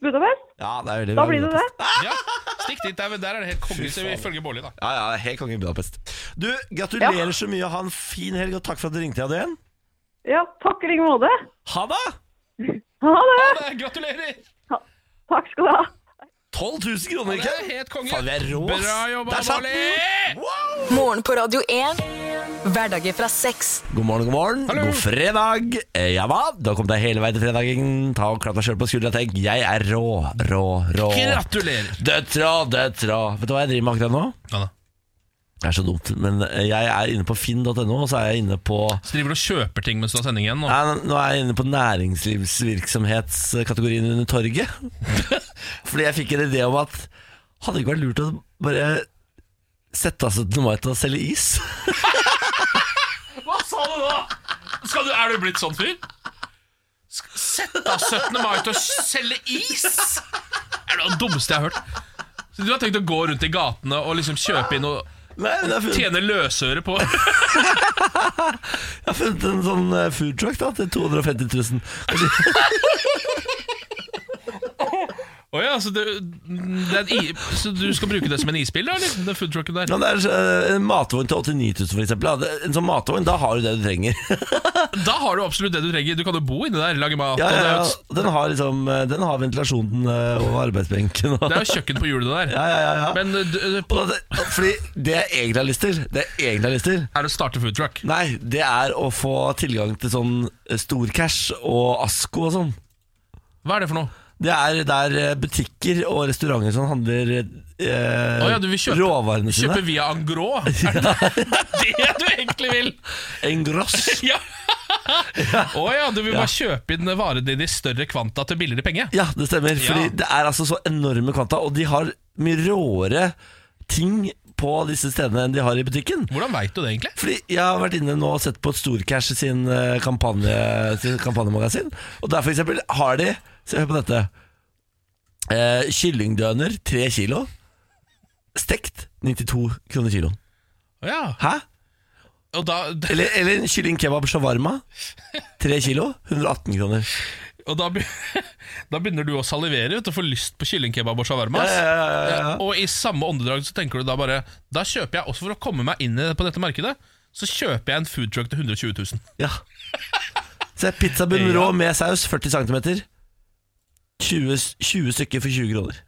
E: Budapest?
A: Ja, det er veldig bra
E: Da blir det
A: Budapest.
E: det.
B: Ja, Stikk dit, der, der er det helt konge, så vi følger Bårli, da.
A: Ja, ja, det er helt konge i Budapest. Du, gratulerer så mye. Ha en fin helg, og takk for at du ringte, Adrian.
E: Ja, takk i like måte.
A: Ha det!
E: Ha det!
B: Ha det, Gratulerer!
E: Takk skal du ha.
A: 12 000 kroner,
B: Ja, det
A: ikke
B: er helt konge.
A: Faen, vi er rå, ass.
B: Bra jobba,
A: Der satt den!
B: Molly!
A: Wow!
C: Morgen på Radio 1. Hverdager fra seks.
A: God morgen, god morgen.
B: Hallo.
A: God fredag. Eh, Ja hva? Du har kommet deg hele veien til fredagen. Ta og klapp deg sjøl på skuldra og tenk 'jeg er rå, rå, rå'.
B: Gratulerer!
A: Døtra, døtra. Vet du hva jeg driver med akkurat nå?
B: Ja, da.
A: Det er så dumt, men eh, jeg er inne på finn.no, og så er jeg inne på
B: Så driver du og kjøper ting mens du har sending igjen? Nå.
A: Nei, nå er jeg inne på næringslivsvirksomhetskategorien under torget. Fordi jeg fikk en idé om at hadde det ikke vært lurt å bare sette av 17. mai til å selge is?
B: Hva sa du nå?! Skal du, er du blitt sånn fyr? Sk- Sett av 17. mai til å selge is?! Det er det dummeste jeg har hørt. Så du har tenkt å gå rundt i gatene og liksom kjøpe inn og
A: Nei, men jeg har funnet,
B: tjene løsøre på
A: jeg har funnet en sånn eh, food truck da, til 250 000. Kanskje-
B: Å ja, så, det, det er en i, så du skal bruke det som en isbil, da? Eller? Den foodtrucken der?
A: Ja, det er eh, en matvogn til 89 000 for eksempel. da. Det- En sånn matvogn, da har du det du trenger.
B: Da har du absolutt det du trenger. Du kan jo bo inni der, lage mat.
A: Ja, ja,
B: og det er
A: ja.
B: jo et-
A: Den har liksom, eh, den har ventilasjonen eh, over arbeidsbenken. Og,
B: Det er jo kjøkken på hjulet der.
A: ja, ja, ja, ja.
B: Men eh, du,
A: Og det, fordi det jeg egentlig har lyst til, det jeg egentlig har lyst til,
B: er det å starte food truck?
A: Nei, det er å få tilgang til sånn eh, storcash og Asko og sånn.
B: Hva er det for noe?
A: Det er der eh, butikker og restauranter som handler eh,
B: Å ja, du vil kjøpe-
A: råvarene
B: Kjøpe
A: sine.
B: via Angro? Er det det er det du egentlig vil?
A: Engross.
B: Ja! Å ja, du vil bare kjøpe inn varene dine i større kvanta til billigere penge?
A: Ja, det stemmer. Fordi
B: Ja.
A: det er altså så enorme kvanta, og de har mye råere ting på disse stedene enn de har i butikken.
B: Hvordan veit du det, egentlig?
A: Fordi Jeg har vært inne nå og sett på Storcash sin eh, kampanje, sin kampanjemagasin. Og der for eksempel har de Se hør på dette. Eh, kyllingdøner, tre kilo. Stekt 92 kroner kiloen.
B: Å ja.
A: Hæ?
B: Og da,
A: Eller, eller en kylling kebab shawarma. Tre kilo, 118 kroner.
B: og da, be- da begynner du å salivere vet, og får lyst på kyllingkebab og shawarma. ass.
A: Eh,
B: Og i samme åndedrag så tenker du da bare Da kjøper jeg også for å komme meg inn i- på dette markedet. Så kjøper jeg en foodtruck til 120 000.
A: Ja. Se, pizzabunn rå med saus, 40 cm. 20, 20 stykker for 20 kroner.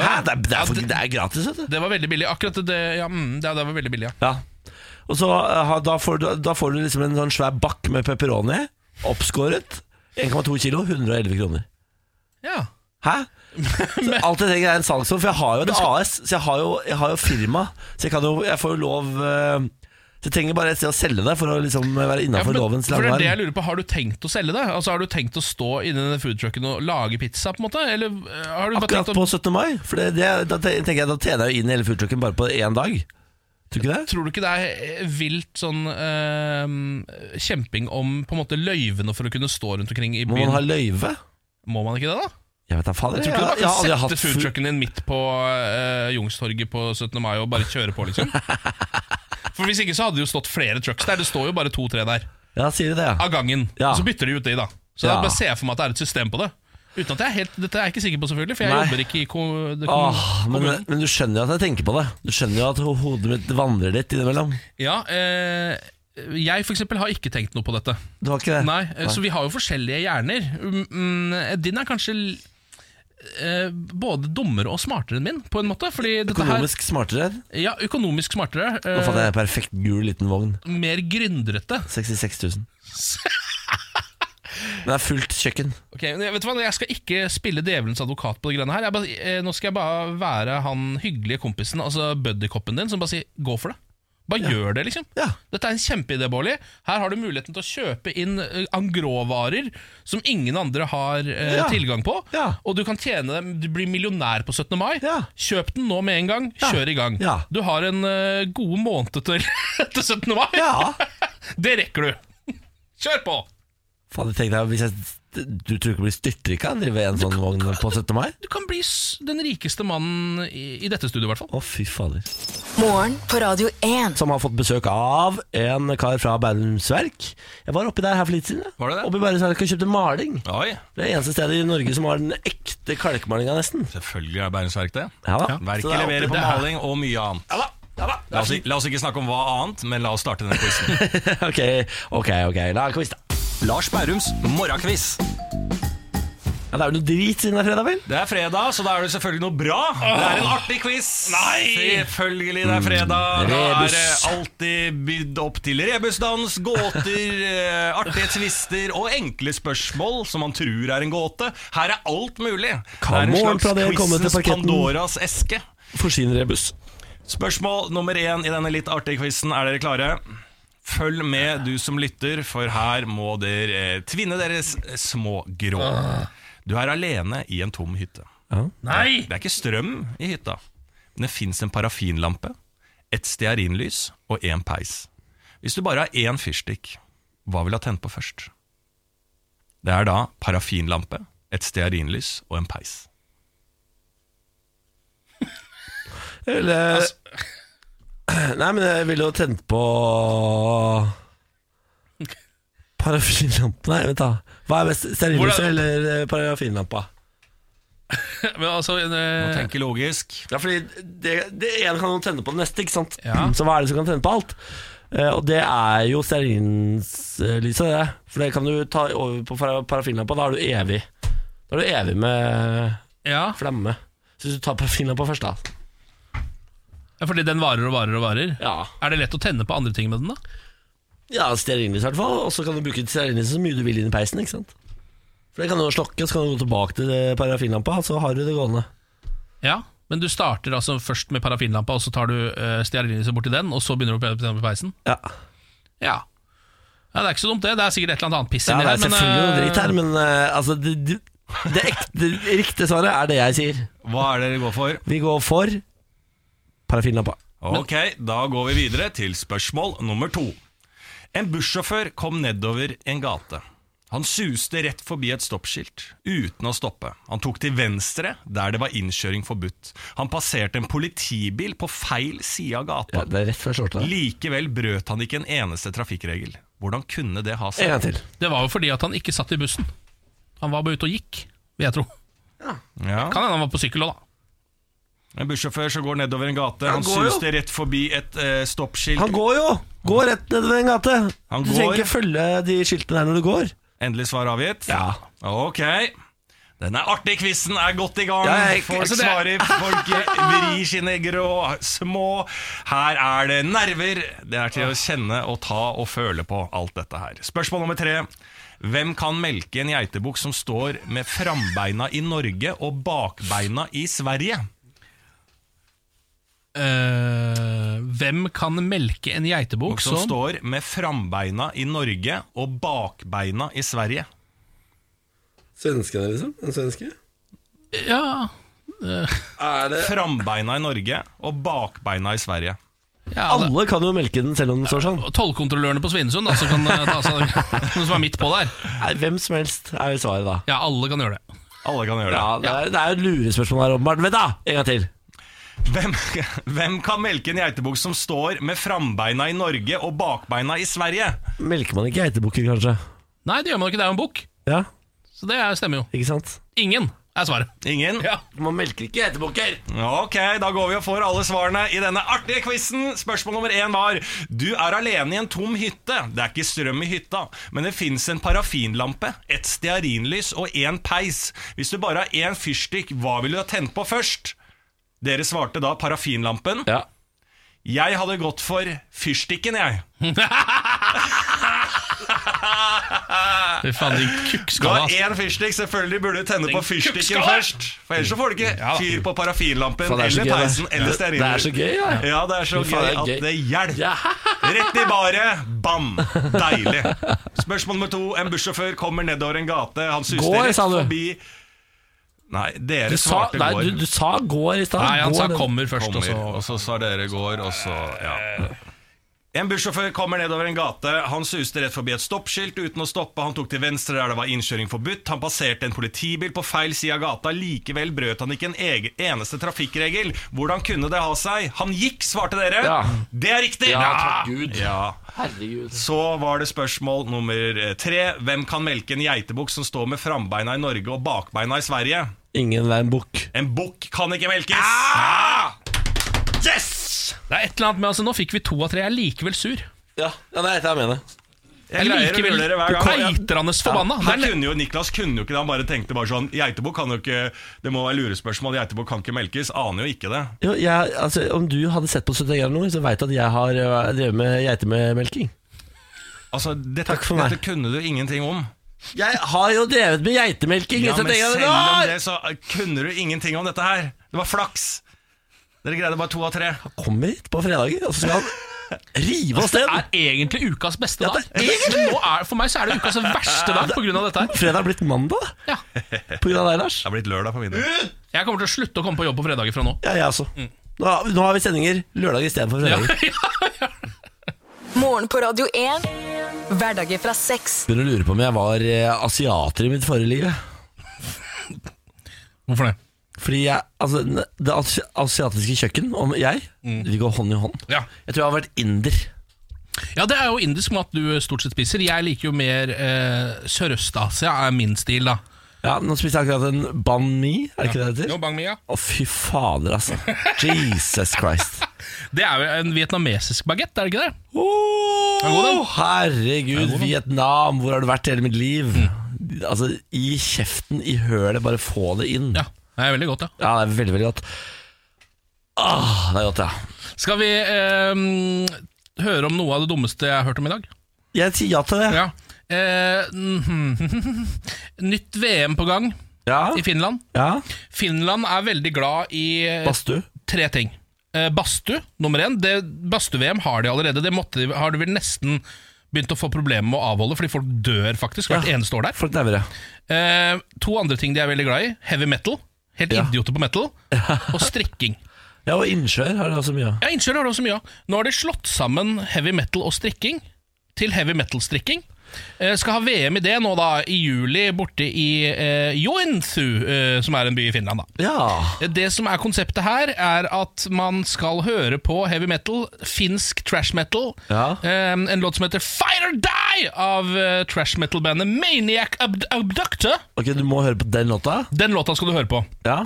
A: Hæ? Det er, det er, for, det er gratis, vet du.
B: Det var veldig billig. Akkurat det, ja, mm, det, det var veldig billig, ja.
A: Ja. Og så eh, ha- da får, du, da får du liksom en sånn svær bakk med pepperoni, oppskåret. 1,2 kilo, 111 kroner.
B: ja.
A: Hæ? Så alt jeg trenger er en salgsform, for jeg har jo et AS, så jeg har jo, jeg har jo firma. Så jeg, kan jo, jeg får jo lov eh, Så jeg trenger bare et sted å selge det for å liksom være
B: Ja,
A: innafor
B: men-
A: lovens
B: for det er det jeg
A: landevarm.
B: lurer på Har du tenkt å selge det? Altså Har du tenkt å stå inni den foodtrucken og lage pizza? på en måte? Eller eh, har du bare
A: Akkurat
B: tenkt å
A: på 17. mai. For det, det, da te- tenker jeg da tjener jeg jo inn hele foodtrucken bare på én dag. Tror du ikke det?
B: Tror du ikke det er eh, vilt sånn eh, kjemping om på en måte løyvene for å kunne stå rundt omkring i
A: Må man
B: byen?
A: ha løyve?
B: Må man ikke det, da?
A: Jeg vet da fader.
B: Jeg tror ikke
A: jeg-
B: du
A: jeg har
B: bare
A: aldri
B: kan
A: hatt
B: sette
A: food-
B: foodtrucken din midt på eh, Youngstorget på 17. mai og bare kjøre på, liksom. For Hvis ikke så hadde det jo stått flere trucks der. Det står jo bare to-tre der
A: Ja, sier du det, ja.
B: av gangen.
A: Ja.
B: Og så bytter de ut de, da. Så
A: Ja.
B: da bare ser jeg for meg at det er et system på det. Uten at jeg er helt, Dette er jeg ikke sikker på, selvfølgelig, for jeg
A: Nei.
B: jobber ikke i ko, det, kom,
A: Åh, men,
B: kommunen.
A: men du skjønner jo at jeg tenker på det. Du skjønner jo at ho- hodet mitt vandrer litt innimellom.
B: Ja, eh, jeg for eksempel har ikke tenkt noe på dette.
A: Du har ikke det?
B: Nei, eh, Så vi har jo forskjellige hjerner. Mm, mm, din er kanskje l- eh, både dummere og smartere enn min, på en måte. Fordi dette her,
A: Økonomisk smartere.
B: ja, økonomisk smartere.
A: Nå fant
B: Eh,
A: jeg en perfekt gul liten vogn.
B: mer gründrete.
A: 66 000. Men det er fullt kjøkken.
B: Ok, men vet du hva, Jeg skal ikke spille djevelens advokat på det greiene her. Jeg bare, eh, nå skal jeg bare være han hyggelige kompisen, altså buddycoppen din, som bare sier 'gå for det'. Bare gjør det, liksom.
A: Ja.
B: Dette er en kjempeidé, Bårli. Her har du muligheten til å kjøpe inn eh, angråvarer som ingen andre har eh,
A: Ja.
B: tilgang på.
A: Ja.
B: Og du kan tjene dem, du blir millionær på 17. mai.
A: Ja.
B: Kjøp den nå med en gang, kjør i gang.
A: Ja.
B: Du har en eh, god måned til, til 17. mai.
A: Ja.
B: Det rekker du. Kjør på!
A: Faen, jeg tenkte, hvis jeg, du tror ikke det blir styrtrykka å drive en sånn vogn på 17. mai?
B: Du kan bli s- den rikeste mannen i, i dette studioet, i hvert fall.
A: Å, fy fader.
C: Morgen på Radio 1.
A: som har fått besøk av en kar fra Bærums Verk. Jeg var oppi der her for litt siden. jeg.
F: Var du det?
A: Oppi Bærums Verk og kjøpte maling.
F: Oi,
A: Det er det eneste stedet i Norge som har den ekte kalkmalinga, nesten.
F: selvfølgelig er Bærums Verk det.
A: Ja da. Så det
F: Verket
A: er
F: leverer
A: oppi
F: på
A: der.
F: maling og mye annet.
A: Ja da, ja da.
F: La oss, i- la oss ikke snakke om hva annet, men la oss starte denne quizen.
A: ok, ok, ok. La oss quiz, da.
F: Lars Bærums morgenquiz.
A: Ja, det er jo noe drit siden det er fredag, vel?
F: Det er fredag, så da er det selvfølgelig noe bra. Det er en artig quiz. Selvfølgelig, det er fredag. Da er det
A: Mm. rebus.
F: alltid bydd opp til rebusdans, gåter, eh, artige tvister og enkle spørsmål som man tror er en gåte. Her er alt mulig.
A: Kan
F: det er en
A: morgenplanet
F: slags
A: komme til
F: quizens
A: parketten?
F: Pandoras eske.
A: For sin rebus.
F: Spørsmål nummer én i denne litt artige quizen. Er dere klare? Følg med, du som lytter, for her må dere eh, tvinne deres små grå. Du er alene i en tom hytte.
B: Nei!
F: Det er ikke strøm i hytta, men det fins en parafinlampe, et stearinlys og én peis. Hvis du bare har én fyrstikk, hva vil du ha tent på først? Det er da parafinlampe, et stearinlys og en peis.
A: Eller Nei, men jeg ville jo tent på Parafinlampa Nei, vent, da. Hva er best? Stearinlyset
B: Hvordan-
A: eller eh, parafinlampa?
B: Men altså en,
F: Må
B: eh,
F: tenke logisk.
A: Ja, fordi det, det ene kan jo tenne på det neste, ikke sant?
B: Ja.
A: Så hva er det som kan tenne på alt? Eh, og det er jo stearinlyset, det. For det kan du ta over på para- parafinlampa, da er du evig. Da er du evig med
B: Ja,
A: flamme. Så hvis du tar parafinlampa først, da.
B: fordi den varer og varer og varer.
A: Ja,
B: Er det lett å tenne på andre ting med den, da?
A: ja stearinlys i hvert fall. Og så kan du bruke stearinlyset så mye du vil inn i peisen, ikke sant. For det kan du jo slokke, så kan du gå tilbake til eh, parafinlampa, så har du det gående.
B: Ja, men du starter altså først med parafinlampa, og så tar du uh, stearinlyset borti den, og så begynner du å tenne på peisen?
A: Ja,
B: Ja. ja. Det er ikke så dumt, det. Det er sikkert et eller annet annet piss
A: ja
B: inni
A: det
B: her,
A: er selvfølgelig noe
B: eh,
A: dritt her, men eh, altså det, det, det, ekte, det riktige svaret er det jeg sier.
F: Hva er det dere går for?
A: Vi går for parafinlampa.
F: Ok, da går vi videre til spørsmål nummer to. En bussjåfør kom nedover en gate. Han suste rett forbi et stoppskilt, uten å stoppe. Han tok til venstre, der det var innkjøring forbudt. Han passerte en politibil på feil side av
A: Ja,
F: gata.
A: det er rett før skjorta.
F: Likevel brøt han ikke en eneste trafikkregel. Hvordan kunne det ha
A: En
F: seg?
A: gang til.
B: Det var jo fordi at han ikke satt i bussen. Han var bare ute og gikk, vil jeg tro.
F: Ja.
B: Kan hende han var på sykkel òg, da.
F: En bussjåfør som går nedover en gate. Han
A: går jo.
F: suste rett forbi et eh, stoppskilt.
A: Han går jo! Går rett nedover en gate.
F: Han
A: Du trenger
F: går.
A: ikke følge de skiltene der når du går.
F: Endelig svar avgitt? Ja. Ok. Den er artig, quizen er godt i gang.
A: Ja, jeg-
F: folk
B: altså, det-
F: svarer, folk vrir sine grå små. Her er det nerver. Det er til å kjenne og ta og føle på alt dette her. Spørsmål nummer tre. Hvem kan melke en geitebukk som står med frambeina i Norge og bakbeina i Sverige?
B: Eh, hvem kan melke en geitebukk
F: Som
B: som
F: står med frambeina i Norge og bakbeina i Sverige.
A: Svenskene, liksom? En svenske?
B: Ja,
A: Er det
F: Frambeina i Norge og bakbeina i Sverige.
B: ja det-
A: Alle kan jo melke den selv om den står sånn.
B: Tollkontrollørene på Svinesund, da, som kan eh, ta seg noen som er midt på der.
A: Nei, Hvem som helst er jo svaret, da.
B: Ja, alle kan gjøre det.
F: Alle kan gjøre det.
A: Ja, Det er, det er jo et lurespørsmål her, åpenbart. Vent, da! En gang til.
F: Hvem, hvem kan melke en geitebukk som står med frambeina i Norge og bakbeina i Sverige?
A: Melker man ikke geitebukker, kanskje?
B: Nei, det gjør man ikke, det er jo en bukk.
A: Ja,
B: Så det er- stemmer jo.
A: ikke sant?
B: Ingen er svaret.
F: Ingen?
B: Ja.
A: Man melker ikke geitebukker!
F: Ok, da går vi og får alle svarene i denne artige quizen. Spørsmål nummer én var Du er alene i en tom hytte. Det er ikke strøm i hytta, men det fins en parafinlampe, et stearinlys og én peis. Hvis du bare har én fyrstikk, hva ville du ha tent på først? Dere svarte da parafinlampen.
A: Ja.
F: Jeg hadde gått for fyrstikken, jeg.
B: Fy faen, din
F: Du
B: kukkskala.
F: har
B: ass.
F: én fyrstikk, selvfølgelig burde du tenne på fyrstikken
B: kukkskala!
F: først. For Ellers så får du ikke fyr på parafinlampen
A: Faen, det er så gøy,
F: eller
A: det.
F: peisen eller
A: Det- det er så
F: stearinlyset.
A: gøy, ja.
F: Ja, det er så
A: Fy
F: gøy
A: faen, det er
F: at
A: gøy.
F: det hjelper.
A: Ja.
F: Rett i baret, bam! Deilig. Spørsmål nummer to. En bussjåfør kommer nedover en gate. Han
A: Går,
F: suster rett
A: sa du.
F: forbi Nei, dere
A: Du sa,
F: svarte
A: nei,
F: går.
A: du, du sa går i stad.
B: Nei, han
A: Går
B: sa
A: den-
B: 'kommer' først, og
F: Kommer,
B: så
F: og så sa dere går, og så Ja. En bussjåfør kommer nedover en gate. Han suste rett forbi et stoppskilt uten å stoppe. Han tok til venstre der det var innkjøring forbudt. Han passerte en politibil på feil side av gata. Likevel brøt han ikke en egen, eneste trafikkregel. Hvordan kunne det ha seg? Han gikk, svarte dere.
G: Ja.
F: Det er riktig!
G: Ja, takk Gud.
F: Ja.
G: Herregud.
F: Så var det spørsmål nummer eh, tre. Hvem kan melke en geitebukk som står med frambeina i Norge og bakbeina i Sverige?
A: Ingen vei en bukk.
F: En bukk kan ikke melkes!
G: Ah!
F: Ah! Yes!
B: Det er et eller annet med altså, Nå fikk vi to av tre. Jeg er likevel sur. Jeg
A: Ja, ja, det er dette jeg mener.
F: Jeg
B: er
F: greier å
B: likevel
F: gjøre det hver gang. Ja.
B: eitrende forbanna.
F: Han
B: Det er-
F: kunne jo, Niklas kunne jo ikke det. Han bare tenkte bare sånn Geitebukk kan jo ikke Det må være lurespørsmål. Geitebukk kan ikke melkes. Aner jo ikke det.
A: Jo, jeg, altså, om du hadde sett på 71 grader nord, så veit du at jeg har øh, drevet med geitemelking.
F: Altså, dette,
A: Takk for meg.
F: dette kunne du ingenting om.
A: Jeg har jo drevet med geitemelking!
F: Ja,
A: i
F: men
A: 71 grader
F: selv om
A: nord!
F: det, så eh, kunne du ingenting om dette her. Det var flaks. Dere greide bare to av tre.
A: Kommer hit på fredager, og så skal han rive oss
B: Det
A: ned.
B: er egentlig ukas beste dag.
A: det er
B: Men nå er, for meg så er det ukas verste dag pga. dette her.
A: Fredag er blitt mandag,
B: Ja.
A: på grunn av deg, Lars.
F: Det er blitt lørdag på middag.
B: Jeg kommer til å slutte å komme på jobb på fredager fra nå.
A: Ja, jeg også.
B: Mm.
A: Nå, har- nå har vi sendinger lørdag istedenfor fredager.
C: Morgen på Radio 1. Hverdager fra seks.
A: Begynner å lure på om jeg var eh, asiater i mitt forrige liv. jeg.
B: Hvorfor det?
A: Fordi jeg, altså, n- det asi- asiatiske kjøkken og jeg,
B: Mm.
A: vi går hånd i hånd.
B: Ja.
A: Jeg tror jeg har vært inder.
B: Ja, Det er jo indisk mat du stort sett spiser. Jeg liker jo mer eh, Sørøst-Asia, er min stil, da.
A: Ja, Nå spiste jeg akkurat en banh mi, er det ikke det det heter? Å, fy fader, altså. Jesus Christ.
B: Det er jo en vietnamesisk bagett, er det ikke det?
A: Åh,
B: god, den?
A: herregud, Vietnam, hvor har du vært hele mitt liv?
B: Mm.
A: Altså, I kjeften, i hølet, bare få det inn.
B: Ja, det er veldig godt, ja.
A: Ja, det er veldig, veldig godt. Åh, det er godt, ja.
B: Skal vi eh, høre om noe av det dummeste jeg har hørt om i dag?
A: Jeg sier ja til det.
B: Ja. Eh, mhm. Nytt VM på gang
A: Ja,
B: i Finland.
A: ja.
B: Finland er veldig glad i eh,
A: Badstue.
B: tre ting. Eh, Bastu, nummer én. Det- Bastu-VM har de allerede. Det måtte, de- har de vel nesten begynt å få problemer med å avholde, fordi folk dør faktisk hvert
A: Ja.
B: eneste år der.
A: Folk dauer, ja.
B: Eh, to andre ting de er veldig glad i. Heavy metal. Helt
A: Ja.
B: idioter på metal. Og strikking.
A: Ja, og innsjøer har det også mye av.
B: Ja, Innsjøer har det også mye av. Nå har de slått sammen heavy metal og strikking til heavy metal-strikking. Eh, skal ha VM i det nå da, i juli, borte i eh, Joensuu, eh, som er en by i Finland. da.
A: Ja.
B: Eh, Det som er konseptet her, er at man skal høre på heavy metal, finsk trash metal,
A: Ja.
B: eh, en låt som heter Fight or Die av eh, trash metal-bandet Maniac Abd Abductor.
A: Ok, du må høre på den låta.
B: Den låta skal du høre på.
A: Ja.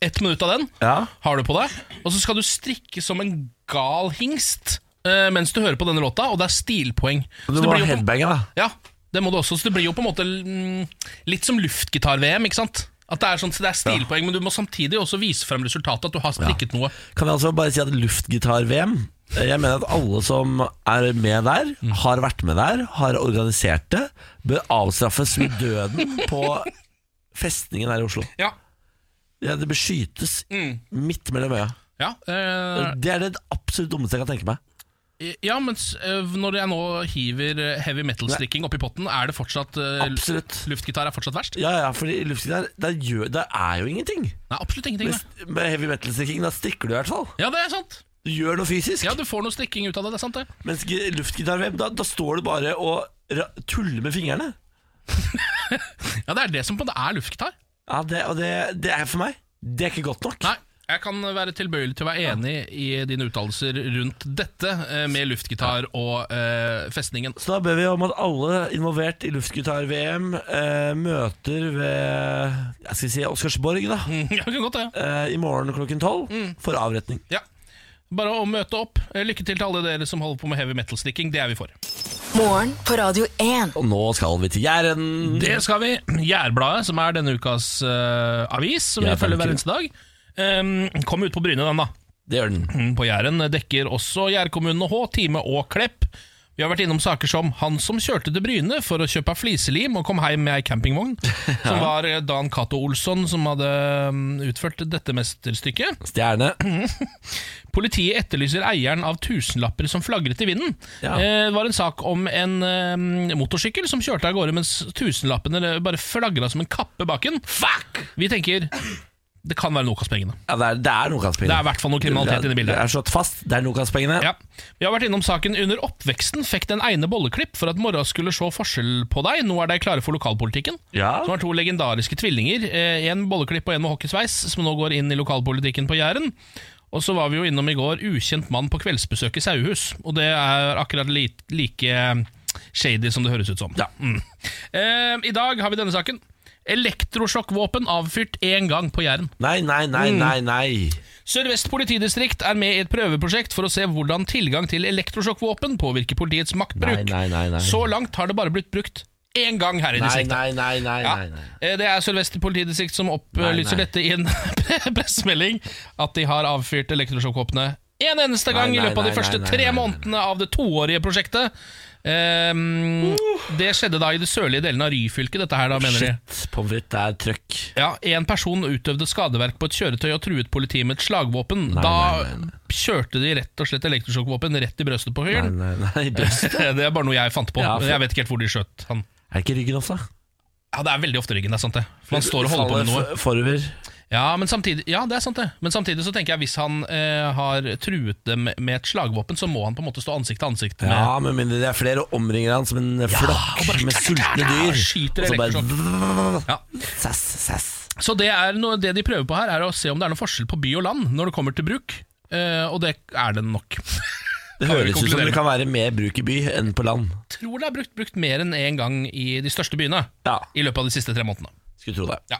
B: Ett minutt av den
A: Ja.
B: har du på deg, og så skal du strikke som en gal hingst eh, mens du hører på denne låta, og det er stilpoeng. Så
A: Du
B: det
A: må
B: blir jo på-
A: headbange, da.
B: Ja, det må du også, så det blir jo på en måte mm, litt som luftgitar-VM, ikke sant? At det er, sånn, så det er stilpoeng, men du må samtidig også vise frem resultatet, at du har strikket noe.
A: Kan jeg altså bare si at luftgitar-VM Jeg mener at alle som er med der, har vært med der, har organisert det, bør avstraffes med døden på festningen her i Oslo.
B: Ja,
A: Ja, det bør skytes midt mellom øya.
B: ja, eh,
A: Det er det absolutt dummeste jeg kan tenke meg.
B: ja men når jeg nå hiver eh, heavy metal-strikking opp i potten, er det fortsatt eh,
A: Absolutt.
B: Luftgitar er fortsatt verst?
A: Ja, ja, fordi luftgitar, der, gjør, der er jo ingenting.
B: Nei, absolutt ingenting. det.
A: Med, med heavy metal-strikking, da strikker du i hvert fall.
B: Ja, det er sant.
A: Du gjør noe fysisk.
B: Ja, du får noe strikking ut av det, det er sant det.
A: Mens gi- luftgitar-VM, da, da står du bare og ra- tuller med fingrene.
B: Ja, det er det som på en måte er luftgitar.
A: Ja, det, og det, det er for meg. Det er ikke godt nok.
B: Nei, jeg kan være tilbøyelig til å være enig i dine uttalelser rundt dette eh, med luftgitar og eh, festningen.
A: Så da ber vi om at alle involvert i luftgitar-VM eh, møter ved jeg skal si Oscarsborg da,
B: Ja, det kan godt det.
A: eh, i morgen klokken tolv
B: Mm.
A: for avretning.
B: Ja. Bare å møte opp. Eh, Lykke til til alle dere som holder på med heavy metal-stikking. Det er vi for.
C: Morgen på Radio 1.
A: Og nå skal vi til Jæren.
B: Det skal vi. Jærbladet, som er denne ukas eh, avis, som vi
A: Jærbladet,
B: følger
A: ikke
B: hver eneste dag, eh, kom ut på Bryne, den, da.
A: Det gjør den.
B: Mm. på Jæren dekker også Gjærkommunene Hå, Time og Klepp. Vi har vært innom saker som han som kjørte til Bryne for å kjøpe fliselim og kom hjem med ei campingvogn, som var eh, Dan Cato Olsson som hadde mm, utført dette mesterstykket.
A: Stjerne.
B: Politiet etterlyser eieren av tusenlapper som flagret i vinden.
A: Ja.
B: Eh, Det var en sak om en eh, motorsykkel som kjørte av eh, gårde mens tusenlappene bare flagra som en kappe bak den. Fuck! Vi tenker Det kan være Nokas-pengene.
A: Ja, det, er, det er Nokas-pengene.
B: Det er i hvert fall noe kriminalitet inne i bildet.
A: Det er slått fast. Det er Nokas-pengene.
B: Ja. Vi har vært innom saken Under oppveksten fikk den ene bolleklipp for at mora skulle se forskjell på deg. Nå er de klare for lokalpolitikken.
A: Ja.
B: Som er to legendariske tvillinger. eh, En bolleklipp og en med hockeysveis, som nå går inn i lokalpolitikken på Jæren. Og så var vi jo innom i går Ukjent mann på kveldsbesøk i sauehus. Og det er akkurat li like shady som det høres ut som. Mm. Eh, I dag har vi denne saken. Elektrosjokkvåpen avfyrt én gang på Jæren.
A: Nei, nei, nei,
B: Mm.
A: nei, nei.
B: Sør-Vest politidistrikt er med i et prøveprosjekt for å se hvordan tilgang til elektrosjokkvåpen påvirker politiets maktbruk.
A: Nei, nei, nei, nei.
B: Så langt har det bare blitt brukt én gang her i
A: Nei,
B: distriktet.
A: nei, nei, nei,
B: Ja.
A: nei, nei.
B: Eh, Det er Sør-Vest politidistrikt som opplyser
A: nei.
B: dette i en pressemelding, at de har avfyrt elektrosjokkvåpenet en eneste gang
A: Nei,
B: i
A: nei,
B: løpet av de
A: nei,
B: første
A: nei, nei,
B: tre
A: nei, nei.
B: månedene av det toårige prosjektet. Ehm,
A: Uh.
B: Det skjedde da i det sørlige delen av Ryfylke, dette her da, mener de.
A: Shit, pommes frites, det er trøkk.
B: Ja, En person utøvde skadeverk på et kjøretøy og truet politiet med et slagvåpen. da kjørte de rett og slett elektrosjokkvåpen rett i brøstet på
A: Nei,
B: fyren.
A: nei, nei, bøst.
B: Det er bare noe jeg fant på.
A: Ja, for-
B: Jeg vet ikke helt hvor de skjøt han.
A: Er det ikke ryggen også?
B: Ja, Det er veldig ofte ryggen. det er sant det For Man står og holder på med noe.
A: Faller f- Forover.
B: Ja, men samtidig, ja, det er sant det Men samtidig så tenker jeg hvis han eh, har truet dem med et slagvåpen, så må han på en måte stå ansikt til ansikt med
A: Ja, med mindre det er flere og omringer han som en flokk
B: og bare-
A: med sultne dyr.
B: Skyter
A: og så bare
B: Ja.
A: Sass, sass.
B: Så det, er noe, det de prøver på her, er å se om det er noe forskjell på by og land når det kommer til bruk. Eh, og det er det nok.
A: Det
B: Kan vi
A: høres ut som
B: konkludere
A: det
B: med?
A: kan være mer bruk i by enn på land.
B: tror det er brukt, brukt mer enn én gang i de største byene
A: Ja.
B: i løpet av de siste tre månedene.
A: Skulle tro det.
B: Ja.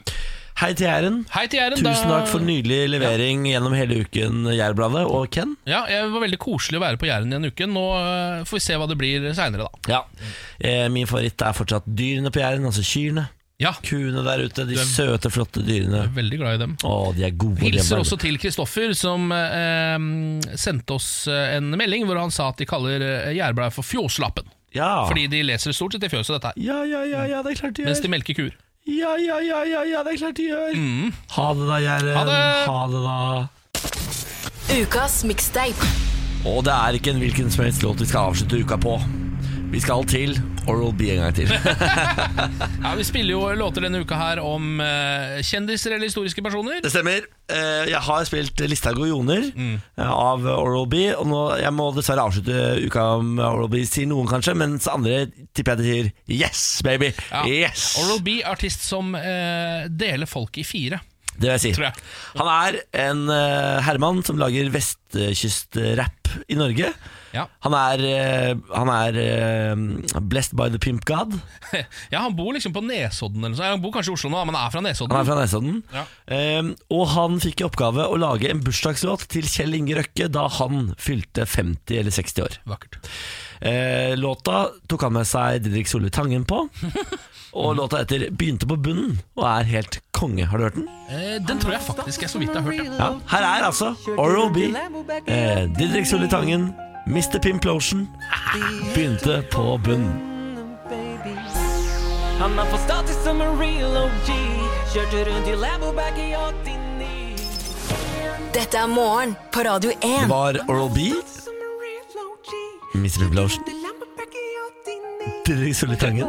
A: Hei til Jæren.
B: Hei til Jæren. da-
A: Tusen takk for nydelig levering gjennom hele uken, Jærbladet. Og Ken?
B: Ja, Det var veldig koselig å være på Jæren i en uke. Nå øh, får vi se hva det blir seinere, da.
A: Ja. Eh, min favoritt er fortsatt dyrene på Jæren, altså kyrne.
B: Ja,
A: Kuene der ute, de
B: er-
A: søte, flotte dyrene.
B: jeg er veldig glad i dem.
A: Å, de er gode. de er
B: Hilser
A: varme.
B: også til Kristoffer, som øh, sendte oss øh, en melding hvor han sa at de kaller øh, Jærbladet for Fjåslappen.
A: ja.
B: Fordi de leser stort sett i fjøset, dette her.
A: ja, ja, ja, ja, det er klart de
B: Mens
A: gjør.
B: de melker kuer.
A: Ja, ja, ja, ja, ja, det er klart de gjør. Ha det da, Jæren.
B: Ha det.
A: det da.
C: Ukas mixtape.
A: Og det er ikke en hvilken som helst låt vi skal avslutte uka på. Vi skal til Oral B en gang til.
B: Ja, Vi spiller jo låter denne uka her om øh, kjendiser eller historiske personer.
A: Det stemmer. Eh, Jeg har spilt Listhaug og Joner
B: Mm.
A: eh, av Oral B. Og nå, jeg må dessverre avslutte uka med Oral B, sier noen kanskje, mens andre tipper jeg de sier yes, baby.
B: Ja.
A: Yes!
B: Oral B, artist som øh, deler folk i fire.
A: Det vil jeg si.
B: Tror jeg.
A: Han er en eh, herremann som lager vestkystrapp i Norge.
B: Ja.
A: Han er, eh, han er eh, blessed by the pimp god.
B: Ja, han bor liksom på Nesodden eller noe sånt. Han bor kanskje i Oslo nå, men er fra Nesodden.
A: Han er fra Nesodden.
B: Ja.
A: Eh, og han fikk i oppgave å lage en bursdagslåt til Kjell Inge Røkke da han fylte 50 eller 60 år.
B: Vakkert.
A: Eh, låta tok han med seg Didrik Solli Tangen på. Og låta etter begynte på bunnen og er helt konge. Har du hørt den?
B: Eh, den tror jeg faktisk jeg så vidt jeg har hørt. Ja.
A: Ja. Her er altså Oral B, eh, Didrik Solli Tangen, Mr. Pimplotion. Begynte på bunnen.
G: Han har fått status som en real OG. Kjørte rundt i Lambo back i 89.
C: Dette er morgen på Radio
A: Det
C: 1.
A: var Oral B, Mr. Pimplotion, Didrik Solli Tangen.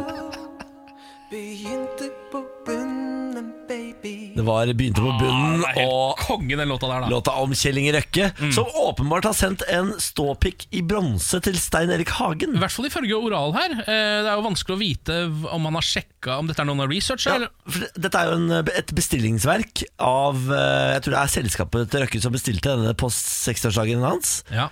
D: Begynte på bunnen, baby.
A: Det var Begynte på bunnen
B: Ah, det er helt Mm.
A: og
B: konge, den låta der, da.
A: Låta om Kjell Inge Røkke, som åpenbart har sendt en ståpikk i bronse til Stein Erik Hagen.
B: I hvert fall ifølge Oral her. Eh, det er jo vanskelig å vite v- om han har sjekka om dette er noen av researcha.
A: Ja,
B: eller-
A: for det- dette er jo en, et bestillingsverk av eh, Jeg tror det er selskapet til Røkke som bestilte denne på 60-årsdagen hans.
B: Ja.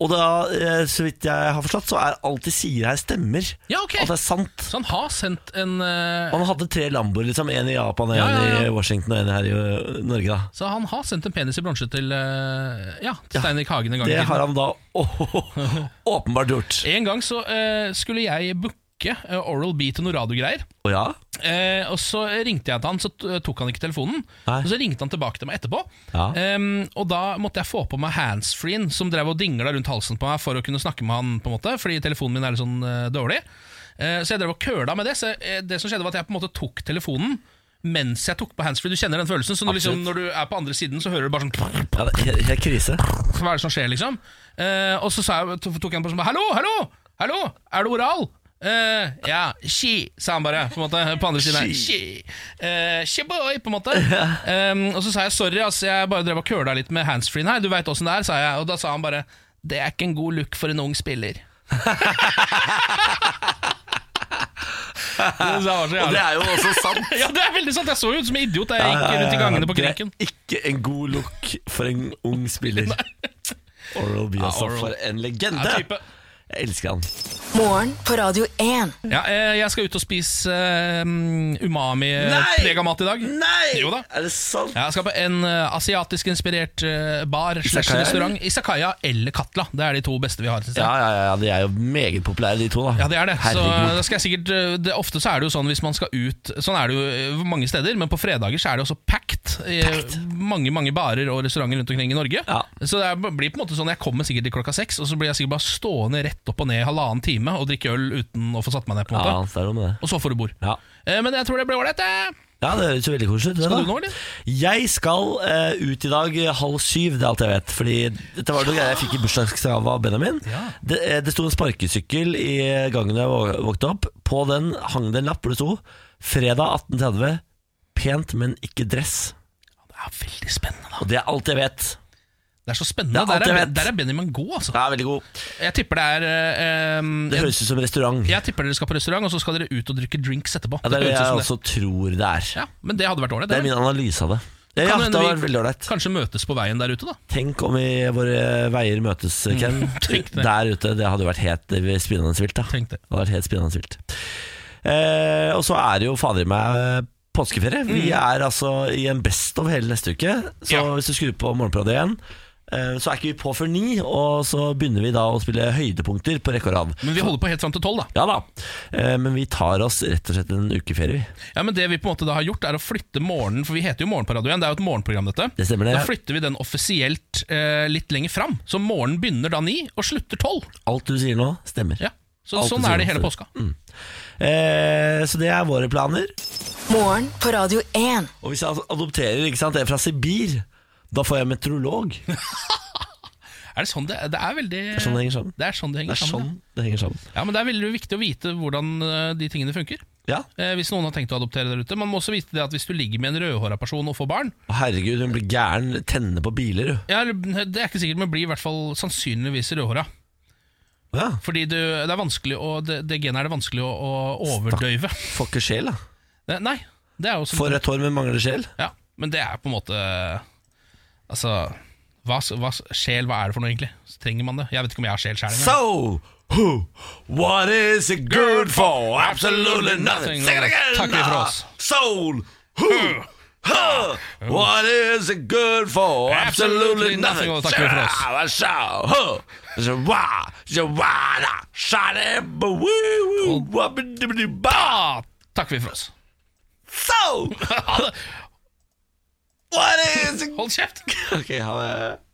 A: Og da, eh, så vidt jeg har forstått, så er alt de sier her, stemmer.
B: Ja, ok.
A: At det er sant.
B: Så han har sendt en eh,
A: Han hadde tre Lamboer, liksom. En i Japan, en
B: Ja, ja, ja.
A: i Washington og en her i ø, Norge. da
B: Så han har sendt en penis i bronse til eh, Ja, til Stein Erik Hagen en gang i
A: Det
B: tiden.
A: har han da åh, åpenbart gjort.
B: En gang så eh, skulle jeg booke eh, Oral B til noen radiogreier.
A: Å ja?
B: Eh, og så ringte jeg til han, så t- eh, tok han ikke telefonen.
A: Nei.
B: Og så ringte han tilbake til meg etterpå.
A: Ja.
B: Em, og da måtte jeg få på meg handsfreen, som drev og dingla rundt halsen på meg for å kunne snakke med han, på en måte fordi telefonen min er litt sånn eh, dårlig. Eh, så jeg drev og køla med det. Så eh, det som skjedde var at jeg på en måte tok telefonen mens jeg tok på handsfree. Du kjenner den følelsen. Så når, liksom,
A: Absolutt.
B: når du er på andre siden, så hører du bare sånn
A: ja det er helt krise.
B: hva er det som skjer, liksom? Eh, og så sa jeg, to- tok jeg en person og ba, Hallo, hallo, hallo, er det oral? eh, ja, she, sa han bare, på en måte. På andre siden her. She. Eh, she boy, på en måte. Em, og så sa jeg sorry, ass, jeg bare drev og køla litt med handsfree-en her, du veit åssen det er, sa jeg. Og da sa han bare det er ikke en god look for en ung spiller. det, sa han så
A: Og det
B: jævlig.
A: er jo også sant.
B: ja, det er veldig sant! Jeg så jo ut som en idiot da jeg gikk rundt i gangene på Krinken.
A: Eh, Det er ikke en god look for en ung spiller. Oral B, altså.
B: Oral.
A: For en legende!
B: Ja, type.
A: Jeg elsker han.
C: Morgen på Radio 1.
B: Ja, eh, jeg skal ut og spise eh,
A: Nei!
B: umami-prega mat Eh, i dag.
A: Nei!
B: Jo da.
A: Er det sant?
B: Ja, Jeg skal på en eh, asiatisk inspirert eh, bar slash
A: Izakaya,
B: restaurant. Isakaya eller Katla. Det er de to beste vi har. Synes jeg.
A: Ja, ja, ja, ja, de er jo meget populære, de to. da
B: Ja, det er det. Så
A: Herregud.
B: da skal jeg sikkert eh, det, Ofte så er det jo sånn hvis man skal ut Sånn er det jo eh, mange steder, men på fredager så er det også packed. i Mange mange barer og restauranter rundt omkring i Norge.
A: Ja.
B: Så det er, blir på en måte sånn jeg kommer sikkert til klokka seks, og så blir jeg sikkert bare stående rett opp og ned i halvannen time og drikke øl uten å få satt meg ned. på en
A: Ja,
B: måte
A: så er det noe med det.
B: Og så får du bord.
A: Ja.
B: Eh, Men jeg tror det blir ålreit. eh.
A: Ja, det høres jo veldig koselig ut. det
B: Skal
A: da.
B: du nå, eller?
A: Jeg skal eh, ut i dag eh, halv syv, det er alt jeg vet. Fordi dette var noe greier jeg fikk i bursdagsgave av Benjamin. Det, eh, det sto en sparkesykkel i gangen jeg vå- våknet opp. På den hang det en lapp hvor det sto 'Fredag 18.30. Pent, men ikke dress'.
B: Det er veldig spennende, da.
A: Og det er alt jeg vet.
B: Det er så spennende.
A: Det er alt
B: der,
A: jeg
B: er,
A: vet.
B: der er Benjamin god, altså.
A: Det er veldig god.
B: Jeg tipper det er eh, em,
A: Det
B: jeg,
A: høres ut som restaurant. Ja,
B: jeg tipper dere skal på restaurant, og så skal dere ut og drikke drinks etterpå.
A: det er det
B: høres ut
A: jeg
B: som
A: også tror det er.
B: Ja, men det hadde vært ålreit.
A: Det
B: det,
A: er min analyse av det. Ja,
B: Kan
A: ja,
B: hende
A: det har
B: vi-
A: vært veldig ålreit.
B: Kanskje møtes på veien der ute, da.
A: Tenk om vi, våre veier møtes, Ken.
B: Mm. tenk det.
A: Der ute. Det hadde jo vært helt spinnende vilt. da.
B: Tenk det.
A: hadde vært helt spinnende vilt. Eh, og så er det jo fader i meg eh, påskeferie. Vi er altså i en best of hele neste uke. Så
B: Mm. Ja.
A: hvis du skrur på morgenpradet igjen, eh, så er ikke vi på før ni. Og så begynner vi da å spille høydepunkter på rekke og rad.
B: Men vi holder på helt fram til tolv, da.
A: Ja da. Eh, men vi tar oss rett og slett en ukeferie, vi.
B: Ja, men det vi på en måte da har gjort, er å flytte morgenen, for vi heter jo Morgen på radio igjen. Det er jo et morgenprogram, dette.
A: Det stemmer det.
B: Da flytter vi den offisielt eh, litt lenger fram. Så morgenen begynner da ni, og slutter tolv.
A: Alt du sier nå, stemmer.
B: Ja. Så,
A: Alt du
B: sånn
A: sier
B: er det
A: nå
B: hele
A: stemmer.
B: påska.
A: Eh, så det er våre planer.
C: Morgen på Radio 1.
A: Og hvis jeg adopterer ikke sant, en fra Sibir, da får jeg meteorolog. Det
B: Er det sånn det, det er veldig
A: er sånn det henger sammen.
B: Det er sånn det
A: Det
B: henger
A: er sånn
B: sammen.
A: det henger sammen.
B: ja. Ja, men det er veldig viktig å vite hvordan eh, de tingene funker.
A: Ja.
B: Eh, hvis noen har tenkt å adoptere der ute. Man må også vite det at hvis du ligger med en rødhåra person og får barn
A: Å, Herregud, hun blir gæren. Tenne på biler, du.
B: ja, eh, Det er ikke sikkert, men blir i hvert fall sannsynligvis rødhåra.
A: Ja.
B: Fordi det, det er vanskelig å, det, det genet er det vanskelig å, å overdøyve.
A: Får ikke sjel, da.
B: Eh, Nei, det er jo som
A: Får rødt hår, men mangler sjel.
B: ja, Men det er på en måte Altså hva, s- hva, s- Sjel, hva er det for noe, egentlig? Så trenger man det? Jeg vet ikke om jeg har sjel sjæl engang.
A: So, who, what is it good for? Absolutely nothing. Sing it again!
B: Takk for oss.
A: Soul, who, huh, what is it good for? Absolutely
B: Absolutely
A: nothing.
B: nothing. Og takk for oss.
A: Shower, shower, huh. Shawa, shawada, shawada, bawoo, wabbidi, ba.
B: Ah, takker vi for oss.
A: So,
B: Ha det.
A: what is it?
B: Hold kjeft!
A: Ok, ha det.